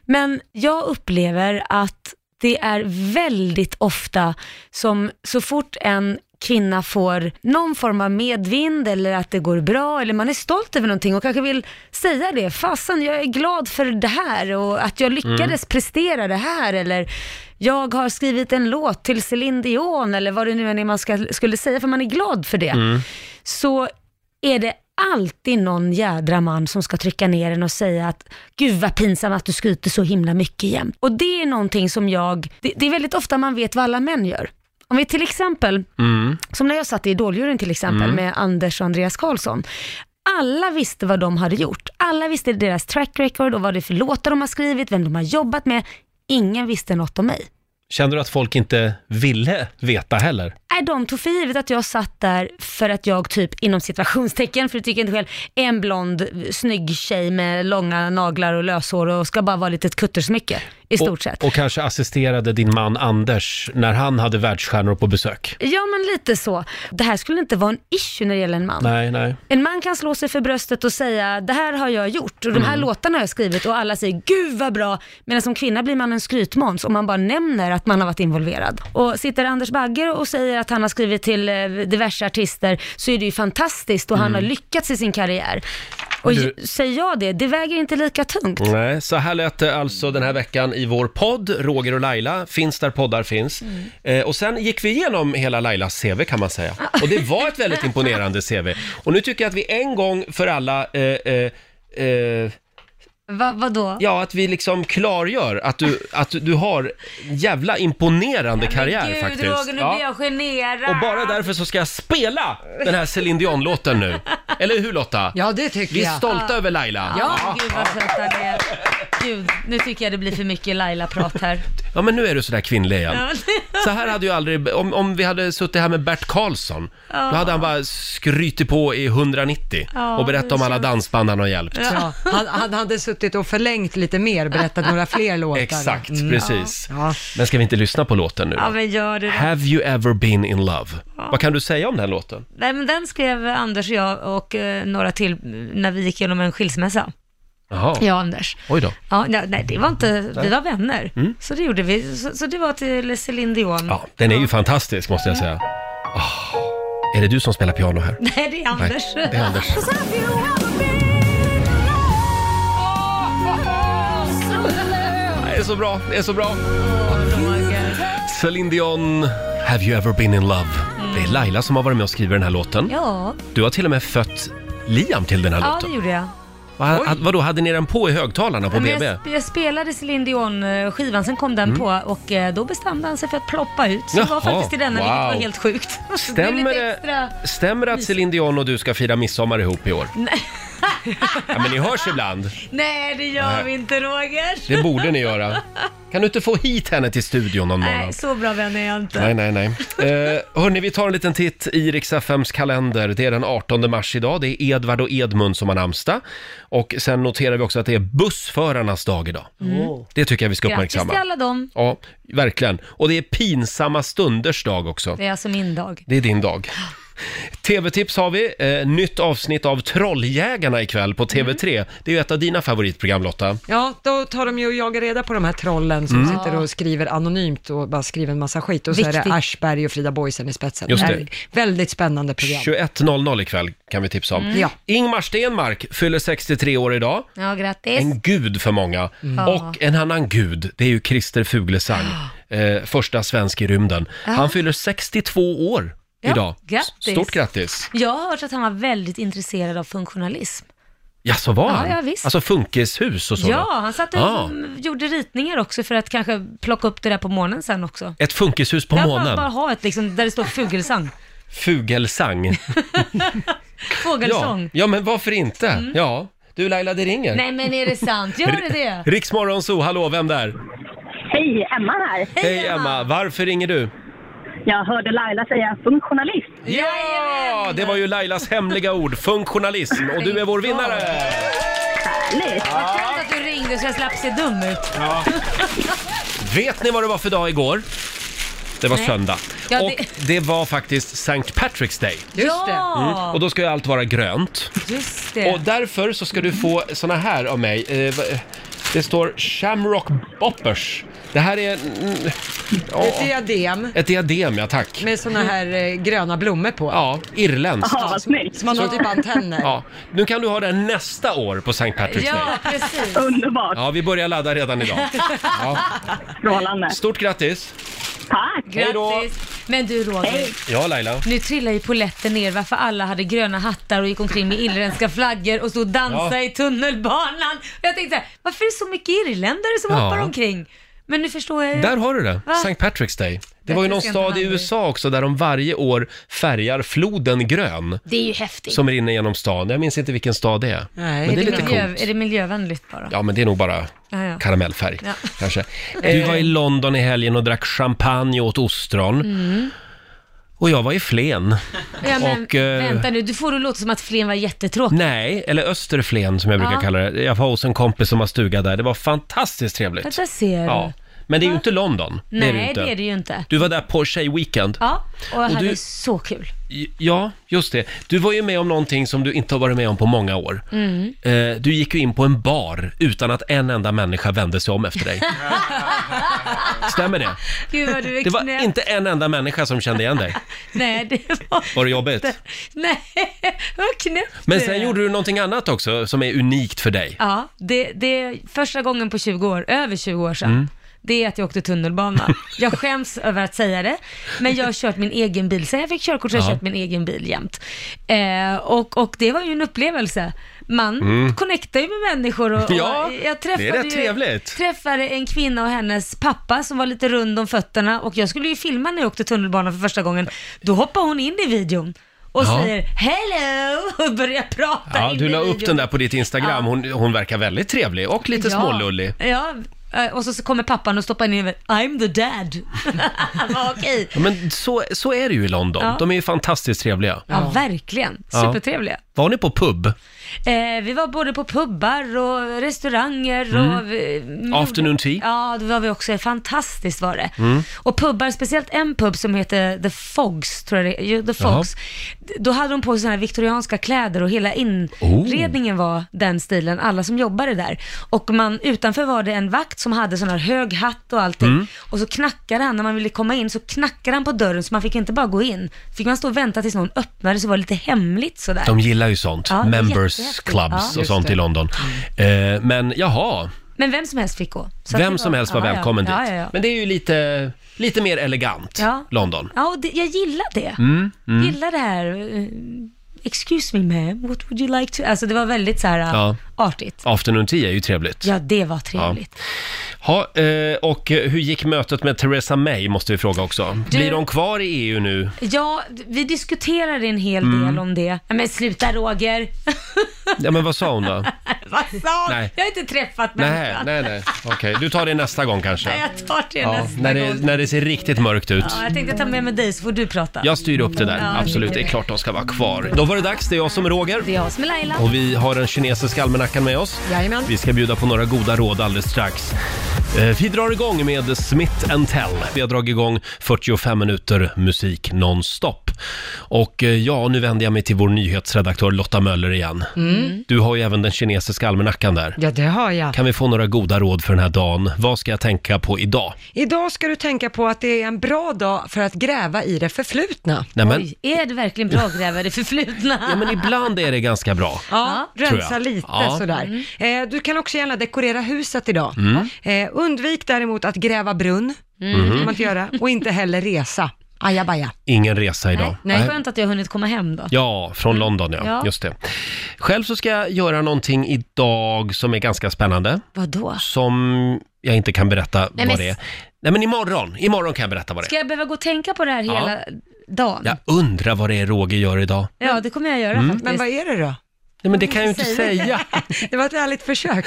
Speaker 2: men jag upplever att det är väldigt ofta som så fort en kvinna får någon form av medvind eller att det går bra eller man är stolt över någonting och kanske vill säga det. Fasen, jag är glad för det här och att jag lyckades
Speaker 14: Mm.
Speaker 2: prestera det här eller jag har skrivit en låt till Céline Dion eller vad det nu än är man ska, skulle säga för man är glad för det.
Speaker 14: Mm.
Speaker 2: Så är det alltid någon jädra man som ska trycka ner en och säga att gud vad pinsamt att du skryter så himla mycket jämt. Och det är någonting som jag, det, det är väldigt ofta man vet vad alla män gör. Om vi till exempel
Speaker 14: Mm.
Speaker 2: som när jag satt i Idoljuryn till exempel
Speaker 14: Mm.
Speaker 2: med Anders och Andreas Karlsson. Alla visste vad de hade gjort. Alla visste deras track record och vad det är för låtar de har skrivit, vem de har jobbat med. Ingen visste något om mig.
Speaker 1: Kände du att folk inte ville veta heller?
Speaker 2: Nej, de tog för givet att jag satt där för att jag typ inom situationstecken, för du tycker inte själv, är en blond snygg tjej med långa naglar och löshår och ska bara vara lite ett kuttersmycke i stort
Speaker 1: och,
Speaker 2: sett.
Speaker 1: Och kanske assisterade din man Anders när han hade världsstjärnor på besök?
Speaker 2: Ja men lite så. Det här skulle inte vara en issue när det gäller en man.
Speaker 1: Nej, nej.
Speaker 2: En man kan slå sig för bröstet och säga det här har jag gjort och de här
Speaker 1: Mm.
Speaker 2: låtarna har jag skrivit och alla säger gud vad bra. Medan som kvinna blir man en skrytmåns om man bara nämner att man har varit involverad. Och sitter Anders Bagger och säger att han har skrivit till eh, diverse artister så är det ju fantastiskt och han
Speaker 1: Mm.
Speaker 2: har lyckats i sin karriär. Och
Speaker 1: Du-
Speaker 2: ju- säger jag det, det väger inte lika tungt.
Speaker 1: Nej, så här lät det alltså den här veckan i vår podd, Roger och Laila, finns där poddar finns.
Speaker 2: Mm.
Speaker 1: Eh, och sen gick vi igenom hela Lailas CV kan man säga. Och det var ett väldigt imponerande CV. Och nu tycker jag att vi en gång för alla eh, eh, eh,
Speaker 2: Va, vadå?
Speaker 1: Ja, att vi liksom klargör att du, att du har en jävla imponerande karriär
Speaker 2: Gud
Speaker 1: faktiskt.
Speaker 2: Roger, nu
Speaker 1: Ja.
Speaker 2: blir jag generad.
Speaker 1: Och bara därför så ska jag spela den här Céline Dion-låten nu. Eller hur Lotta?
Speaker 13: Ja, det tycker
Speaker 1: Vi är
Speaker 13: jag.
Speaker 1: stolta
Speaker 2: Ja.
Speaker 1: över Laila.
Speaker 2: Ja, gud vad söt han är. Gud, nu tycker jag det blir för mycket Laila-prat här.
Speaker 1: Ja, men nu är du sådär kvinnlig igen.
Speaker 2: Ja.
Speaker 1: Så här hade ju aldrig, om, om vi hade suttit här med Bert Karlsson,
Speaker 2: Ja.
Speaker 1: då hade han bara skrytit på i 190
Speaker 13: Ja,
Speaker 1: och berättat om alla dansband han har hjälpt.
Speaker 13: Ja, han, han hade suttit och förlängt lite mer, berättat några fler låtar.
Speaker 1: Exakt,
Speaker 13: Mm.
Speaker 1: precis.
Speaker 13: Ja.
Speaker 1: Men ska vi inte lyssna på låten nu
Speaker 2: Ja,
Speaker 1: då?
Speaker 2: men gör det. då.
Speaker 1: Have you ever been in love?
Speaker 2: Ja.
Speaker 1: Vad kan du säga om den här låten?
Speaker 2: Nej, men den skrev Anders och jag och eh, några till eh, när vi gick igenom en skilsmässa.
Speaker 1: Jaha.
Speaker 2: Ja, Anders.
Speaker 1: Oj då.
Speaker 2: Ja, nej, nej, det var inte, vi
Speaker 1: Nej.
Speaker 2: var vänner.
Speaker 1: Mm.
Speaker 2: Så det gjorde vi. Så, så det var till Céline Dion.
Speaker 1: Ja, den är ju fantastisk måste jag säga. Ah, Är det du som spelar piano här?
Speaker 2: Nej, det är Anders. Alltså,
Speaker 1: Nej, det är Anders. Det är så bra, det är så bra. Celine Dion, Have you ever been in love? Det är Laila som har varit med och skrivit den här låten.
Speaker 2: Ja,
Speaker 1: Du har till och med fött Liam till den här
Speaker 2: ja det
Speaker 1: låten.
Speaker 2: gjorde jag.
Speaker 1: Vad, vadå, hade ni den på i högtalarna på
Speaker 2: Men
Speaker 1: BB?
Speaker 2: jag, sp- jag spelade Céline Dion-skivan, sen kom den
Speaker 1: Mm.
Speaker 2: på och eh, då bestämde han sig för att ploppa ut. Så det var
Speaker 1: Jaha,
Speaker 2: faktiskt i denna, vilket var
Speaker 1: wow.
Speaker 2: helt sjukt. Så det blev
Speaker 1: Stämmer
Speaker 2: lite
Speaker 1: det-
Speaker 2: extra...
Speaker 1: Stämmer det att Celine Dion och du ska fira midsommar ihop i år?
Speaker 2: Nej.
Speaker 1: Ja, men ni hörs ibland.
Speaker 2: Nej, det gör
Speaker 1: Nej.
Speaker 2: vi inte Roger.
Speaker 1: Det borde ni göra. Kan du inte få hit henne till studion någon månad?
Speaker 2: Nej, så bra vän är jag inte.
Speaker 1: Nej, nej, nej. Eh, hörni, vi tar en liten titt i Rix FMs kalender. Det är den 18 mars idag. Det är Edvard och Edmund som har namnsdag. Och sen noterar vi också att det är bussförarnas dag idag.
Speaker 2: Mm.
Speaker 1: Det tycker jag vi ska
Speaker 2: Grattis
Speaker 1: uppmärksamma.
Speaker 2: till alla dem.
Speaker 1: Ja, verkligen. Och det är pinsamma stunders dag också.
Speaker 2: Det är alltså min dag.
Speaker 1: Det är din dag. TV-tips har vi. Eh, nytt avsnitt av Trolljägarna ikväll på TV3. Det är ju ett av dina favoritprogram Lotta.
Speaker 13: Ja, då tar de ju och jagar reda på de här trollen som
Speaker 1: Mm.
Speaker 13: sitter och skriver anonymt och bara skriver en massa skit. Och så är
Speaker 1: Viktigt.
Speaker 13: det Aschberg och Frida Boisen i spetsen.
Speaker 1: Just det.
Speaker 13: Vä- Väldigt spännande program.
Speaker 1: 21.00 ikväll kan vi tipsa om.
Speaker 2: Mm. Ja.
Speaker 1: Ingmar Stenmark fyller 63 år idag.
Speaker 2: Ja, grattis.
Speaker 1: En gud för många.
Speaker 2: Mm.
Speaker 1: Och en annan gud, det är ju Christer Fuglesang. Eh, första svensk i rymden.
Speaker 2: Ja.
Speaker 1: Han fyller 62 år
Speaker 2: Ja,
Speaker 1: idag.
Speaker 2: grattis.
Speaker 1: Stort grattis.
Speaker 2: Jag har hört att han var väldigt intresserad av funktionalism.
Speaker 1: Ja, så var
Speaker 2: Ja,
Speaker 1: han?
Speaker 2: ja, visst.
Speaker 1: Alltså funkishus och så?
Speaker 2: ja,
Speaker 1: då?
Speaker 2: han satt och
Speaker 1: Ah.
Speaker 2: gjorde ritningar också för att kanske plocka upp det där på månen sen också.
Speaker 1: Ett funkishus på
Speaker 2: jag
Speaker 1: månen?
Speaker 2: bara ha ett liksom, där det står fugelsang.
Speaker 1: Fugelsang.
Speaker 2: Fågelsång.
Speaker 1: Ja, ja, men varför inte?
Speaker 2: Mm.
Speaker 1: Ja. Du Laila, det ringer.
Speaker 2: Nej men är det sant? Gör det det?
Speaker 1: Riksmorgonzoo, hallå, vem där?
Speaker 14: Hej, Emma här.
Speaker 1: Hej Emma, varför ringer du?
Speaker 14: Jag hörde Laila säga funktionalist.
Speaker 1: Ja, det var ju Lailas hemliga ord, funktionalism, och du är vår vinnare!
Speaker 14: Härligt!
Speaker 2: Vad skönt att du ringde så jag slapp se dum ut.
Speaker 1: Ja. Vet ni vad det var för dag igår? Det var
Speaker 2: Nej.
Speaker 1: söndag.
Speaker 2: Ja, det-
Speaker 1: och det... var faktiskt St. Patrick's Day.
Speaker 2: Just det.
Speaker 1: Mm. Och då ska ju allt vara grönt.
Speaker 2: Just det.
Speaker 1: Och därför så ska du få såna här av mig. Eh, va- Det står Shamrock Boppers. Det här är... Mm, ja,
Speaker 13: Ett diadem
Speaker 1: ett diadem, ja tack.
Speaker 13: med sådana här eh, gröna blommor på.
Speaker 1: Ja, irländskt.
Speaker 13: Ja, som, som man har typ antenner.
Speaker 1: Ja, nu kan du ha den nästa år på St. Patrick's Day.
Speaker 2: precis.
Speaker 14: Underbart!
Speaker 1: Ja, vi börjar ladda redan idag. Ja.
Speaker 14: Strålande.
Speaker 1: Stort grattis!
Speaker 14: Tack!
Speaker 1: Hej då.
Speaker 2: Grattis. Men du Roger,
Speaker 1: Ja, Laila.
Speaker 2: nu trillar ju polletten ner varför alla hade gröna hattar och gick omkring med irländska flaggor och stod och dansade
Speaker 1: Ja.
Speaker 2: i tunnelbanan. Och jag tänkte så här, varför är det så mycket irländare som
Speaker 1: Ja.
Speaker 2: hoppar omkring? Men nu förstår jag ju.
Speaker 1: Där har du det,
Speaker 2: Va?
Speaker 1: St. Patrick's Day. Det var ju
Speaker 2: Bättre
Speaker 1: någon
Speaker 2: sent än
Speaker 1: stad i
Speaker 2: aldrig.
Speaker 1: USA också där de varje år färgar floden grön.
Speaker 2: Det är ju häftigt.
Speaker 1: Som rinner genom stan. Jag minns inte vilken stad det är.
Speaker 2: Nej,
Speaker 1: men det är lite
Speaker 2: miljö,
Speaker 1: coolt.
Speaker 2: Är det miljövänligt bara?
Speaker 1: Ja, men det är nog bara
Speaker 2: Ja, ja.
Speaker 1: karamellfärg
Speaker 2: Ja.
Speaker 1: kanske. Du var i London i helgen och drack champagne och åt ostron.
Speaker 2: Mm.
Speaker 1: Och jag var i Flen.
Speaker 2: Ja, men,
Speaker 1: och, eh,
Speaker 2: vänta nu, du får det låta som att Flen var jättetråkig.
Speaker 1: Nej, eller Österflen som jag brukar
Speaker 2: Ja.
Speaker 1: kalla det. Jag var hos en kompis som har stuga där. Det var fantastiskt trevligt.
Speaker 2: Men Där ser du.
Speaker 1: Ja. Men det är ju inte London.
Speaker 2: Nej,
Speaker 1: det är det, inte.
Speaker 2: ju inte.
Speaker 1: Du var där på tjejweekend.
Speaker 2: Ja, och jag
Speaker 1: Och
Speaker 2: hade
Speaker 1: du-
Speaker 2: så kul.
Speaker 1: J- Ja, just det. Du var ju med om någonting som du inte har varit med om på många år.
Speaker 2: Mm.
Speaker 1: Eh, Du gick ju in på en bar utan att en enda människa vände sig om efter dig. Stämmer det?
Speaker 2: Gud vad du är
Speaker 1: Det
Speaker 2: knäpp.
Speaker 1: var inte en enda människa som kände igen dig.
Speaker 2: Nej, det var...
Speaker 1: Var det jobbigt?
Speaker 2: Nej, vad knäppt
Speaker 1: Men
Speaker 2: du
Speaker 1: sen
Speaker 2: är.
Speaker 1: gjorde du någonting annat också som är unikt för dig.
Speaker 2: Ja, det, det är första gången på 20 år, över 20 år sedan.
Speaker 1: Mm.
Speaker 2: Det är att jag åkte tunnelbana. Jag skäms över att säga det, men jag har kört min egen bil. Sen jag fick körkort så har jag
Speaker 1: Ja.
Speaker 2: kört min egen bil jämt. Eh, och, och det var ju en upplevelse. Man
Speaker 1: Mm.
Speaker 2: connectar ju med människor och,
Speaker 1: Ja,
Speaker 2: och jag
Speaker 1: det är
Speaker 2: träffade
Speaker 1: rätt
Speaker 2: ju,
Speaker 1: trevligt.
Speaker 2: träffade en kvinna och hennes pappa som var lite rund om fötterna och jag skulle ju filma när jag åkte tunnelbana för första gången. Då hoppar hon in i videon och
Speaker 1: Ja.
Speaker 2: säger hello och börjar prata
Speaker 1: Ja,
Speaker 2: in
Speaker 1: du
Speaker 2: i
Speaker 1: la upp
Speaker 2: videon.
Speaker 1: den där på ditt Instagram. Hon, hon verkar väldigt trevlig och lite smålullig.
Speaker 2: Ja, eh, och så så kommer pappan och stoppar in huvudet. I'm the dad. Vad Okej.
Speaker 1: Ja, men så, så är det ju i London.
Speaker 2: Ja.
Speaker 1: De är ju fantastiskt trevliga.
Speaker 2: Ja, verkligen.
Speaker 1: Ja.
Speaker 2: Supertrevliga.
Speaker 1: Var ni på pub?
Speaker 2: Eh, vi var både på pubbar och restauranger och...
Speaker 1: Mm.
Speaker 2: vi-
Speaker 1: Afternoon tea?
Speaker 2: Ja, det var vi också. Fantastiskt var det.
Speaker 1: Mm.
Speaker 2: Och pubbar, speciellt en pub som heter The Fogs, tror jag det är. Jo, The
Speaker 1: Jaha.
Speaker 2: Fogs. D- Då hade de på sig sådana här viktorianska kläder och
Speaker 1: Oh.
Speaker 2: hela inredningen var den stilen, alla som jobbade där. Och man, utanför var det en vakt som hade sån här hög hatt och allting.
Speaker 15: Mm.
Speaker 2: Och så knackade han, när man ville komma in så knackade han på dörren så man fick inte bara gå in. Fick man stå och vänta tills någon öppnade så var det lite hemligt sådär.
Speaker 1: De gillar ju sånt.
Speaker 2: Ja, det är
Speaker 1: Members
Speaker 2: jättehäftigt. Ja.
Speaker 1: clubs och
Speaker 2: Just
Speaker 1: sånt
Speaker 2: det.
Speaker 1: i London. Eh, men jaha,
Speaker 2: Men vem som helst fick gå. Så att det
Speaker 1: vem som helst var
Speaker 2: ja, ja.
Speaker 1: välkommen
Speaker 2: ja,
Speaker 1: dit.
Speaker 2: Ja, ja.
Speaker 1: Men det är ju lite, lite mer elegant,
Speaker 2: Ja.
Speaker 1: London.
Speaker 2: Ja, och det, jag gillar det.
Speaker 1: Mm, mm.
Speaker 2: Gillar det här. eh, Excuse me ma'am, what would you like to... Alltså det var väldigt så här eh,
Speaker 1: Ja.
Speaker 2: artigt.
Speaker 1: Afternoon tea är ju trevligt.
Speaker 2: Ja, det var trevligt.
Speaker 1: Ha, eh, och eh, hur gick mötet med Theresa May, måste vi fråga också.
Speaker 2: Du-
Speaker 1: Blir hon kvar i EU nu?
Speaker 2: Ja, d- vi diskuterade en hel
Speaker 1: Mm.
Speaker 2: del om det. Nej, Men sluta Roger!
Speaker 1: Ja, men vad sa hon då?
Speaker 2: Vad sa hon?
Speaker 1: Nej.
Speaker 2: Jag har inte träffat
Speaker 1: nej,
Speaker 2: människan.
Speaker 1: nej, nej. Okej, du tar det nästa gång kanske.
Speaker 2: Nej, jag tar det
Speaker 1: Ja,
Speaker 2: nästa
Speaker 1: när, det,
Speaker 2: gång.
Speaker 1: när det ser riktigt mörkt ut.
Speaker 2: Ja, jag tänkte ta med mig dig så får du prata.
Speaker 1: Jag styr upp det där,
Speaker 2: Ja,
Speaker 1: absolut. Det är klart de ska vara kvar. Då var det dags, det är jag som är Roger.
Speaker 2: Det är jag som är Laila.
Speaker 1: Och vi har den kinesiska almanackan med oss.
Speaker 13: Jajamän.
Speaker 1: Vi ska bjuda på några goda råd alldeles strax. Eh, Vi drar igång med Smith and Tell. Vi har dragit igång 45 minuter musik nonstop. Och eh, ja, nu vänder jag mig till vår nyhetsredaktör Lotta Möller igen.
Speaker 13: Mm.
Speaker 1: Du har ju även den kinesiska almanackan där.
Speaker 13: Ja, det har jag.
Speaker 1: Kan vi få några goda råd för den här dagen? Vad ska jag tänka på idag?
Speaker 13: Idag ska du tänka på att det är en bra dag för att gräva i det förflutna.
Speaker 1: Nämen.
Speaker 2: Oj, är det verkligen bra att gräva i det förflutna?
Speaker 1: Ja, men ibland är det ganska bra.
Speaker 13: Ja,
Speaker 1: tror
Speaker 13: rensa
Speaker 1: jag.
Speaker 13: lite
Speaker 1: Ja.
Speaker 13: sådär. Eh, du kan också gärna dekorera huset idag.
Speaker 1: Mm.
Speaker 13: Eh, undvik däremot att gräva brunn,
Speaker 1: Mm.
Speaker 13: kan man inte göra, och inte heller resa. Ajabaja.
Speaker 1: Ingen resa idag.
Speaker 2: Nej, skönt att jag har hunnit komma hem då.
Speaker 1: Ja, från London ja.
Speaker 2: Ja.
Speaker 1: Just det. Själv så ska jag göra någonting idag som är ganska spännande.
Speaker 2: Vadå?
Speaker 1: Som jag inte kan berätta
Speaker 2: Nej,
Speaker 1: vad
Speaker 2: men-
Speaker 1: det är. Nej men imorgon, imorgon kan jag berätta vad det
Speaker 2: Ska
Speaker 1: är.
Speaker 2: jag behöva gå och tänka på det här
Speaker 1: Ja.
Speaker 2: hela dagen?
Speaker 1: Jag undrar vad det är Roger gör idag.
Speaker 2: Ja, det kommer jag göra
Speaker 1: Mm.
Speaker 2: faktiskt.
Speaker 1: Men vad
Speaker 13: är det då?
Speaker 1: Nej, men det kan jag ju inte säga.
Speaker 13: det var ett ärligt försök.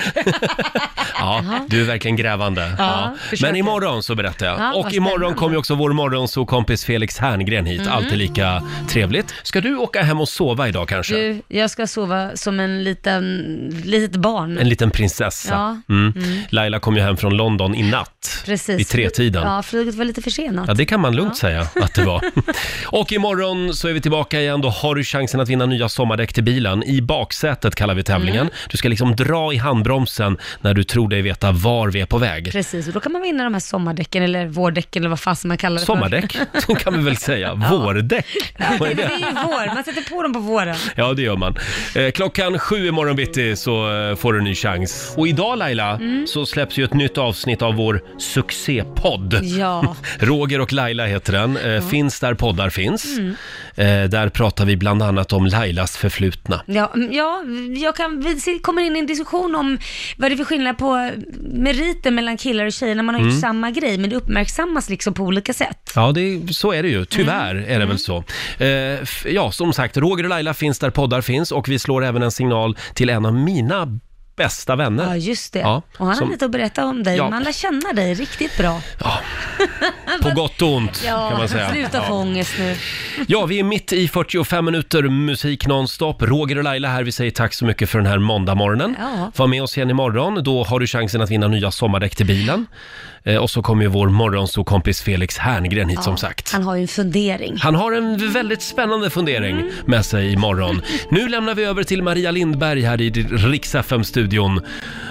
Speaker 1: Ja, du är verkligen grävande.
Speaker 13: Ja,
Speaker 1: Ja.
Speaker 13: försöker.
Speaker 1: Men imorgon så berättar jag.
Speaker 13: Ja,
Speaker 1: och
Speaker 13: vad
Speaker 1: imorgon
Speaker 13: spännande.
Speaker 1: kommer ju också vår morgonsokompis Felix Herngren hit.
Speaker 2: Mm.
Speaker 1: Alltid lika trevligt. Ska du åka hem och sova idag kanske?
Speaker 2: Du, jag ska sova som en liten, litet barn.
Speaker 1: En liten prinsessa.
Speaker 2: Ja.
Speaker 1: Mm.
Speaker 2: Mm.
Speaker 1: Laila kom ju hem från London i natt.
Speaker 2: Precis.
Speaker 1: Vid tretiden.
Speaker 2: Ja, flyget var lite försenat.
Speaker 1: Ja, det kan man lugnt säga att det var. Och imorgon så är vi tillbaka igen. Då har du chansen att vinna nya sommardäck till bilen. I baksätet kallar vi tävlingen.
Speaker 2: Mm.
Speaker 1: Du ska liksom dra i handbromsen när du tror dig veta var vi är på väg.
Speaker 2: Precis, och då kan man vinna de här sommardäcken eller vårdäcken eller vad fasen man kallar det
Speaker 1: Sommardäck,
Speaker 2: för.
Speaker 1: så kan vi väl säga. Vårdäck, vad är
Speaker 2: Det
Speaker 1: det?
Speaker 2: är ju vår, man sätter på dem på våren.
Speaker 1: Ja, det gör man. Eh, klockan sju imorgon bitti så eh, får du en ny chans. Och idag Laila,
Speaker 2: Mm.
Speaker 1: så släpps ju ett nytt avsnitt av vår succépodd.
Speaker 2: Ja.
Speaker 1: Roger och Laila heter den. Eh, Finns där poddar finns.
Speaker 2: Mm.
Speaker 1: Eh, där pratar vi bland annat om Lailas förflutna.
Speaker 2: Ja, mm, ja, jag kan, vi se- kommer in i en diskussion om vad det är för skillnad på meriter mellan killar och tjejer när man har
Speaker 1: Mm.
Speaker 2: gjort samma grej, men det uppmärksammas liksom på olika sätt.
Speaker 1: Ja, det, är- så är det ju. Tyvärr
Speaker 2: Mm.
Speaker 1: är det väl så. Eh, f- ja, som sagt, Roger och Laila finns där poddar finns och vi slår även en signal till en av mina bästa vänner.
Speaker 2: Ja, just det.
Speaker 1: Ja,
Speaker 2: och han
Speaker 1: som-
Speaker 2: har lite att berätta om dig.
Speaker 1: Ja.
Speaker 2: Man lär känna dig riktigt bra.
Speaker 1: På gott och ont,
Speaker 2: Ja,
Speaker 1: kan man säga.
Speaker 2: sluta få
Speaker 1: Ja.
Speaker 2: ångest nu.
Speaker 1: Ja, vi är mitt i 45 minuter musik nonstop. Roger och Laila här, vi säger tack så mycket för den här måndagmorgonen.
Speaker 2: Ja.
Speaker 1: Var med oss igen imorgon, då har du chansen att vinna nya sommardäck till bilen. Eh, och så kommer ju vår morgonsokompis Felix Herngren hit
Speaker 2: Ja,
Speaker 1: som sagt.
Speaker 2: Han har ju en fundering.
Speaker 1: Han har en väldigt spännande fundering med sig imorgon. Nu lämnar vi över till Maria Lindberg här i Riks-FM-studion.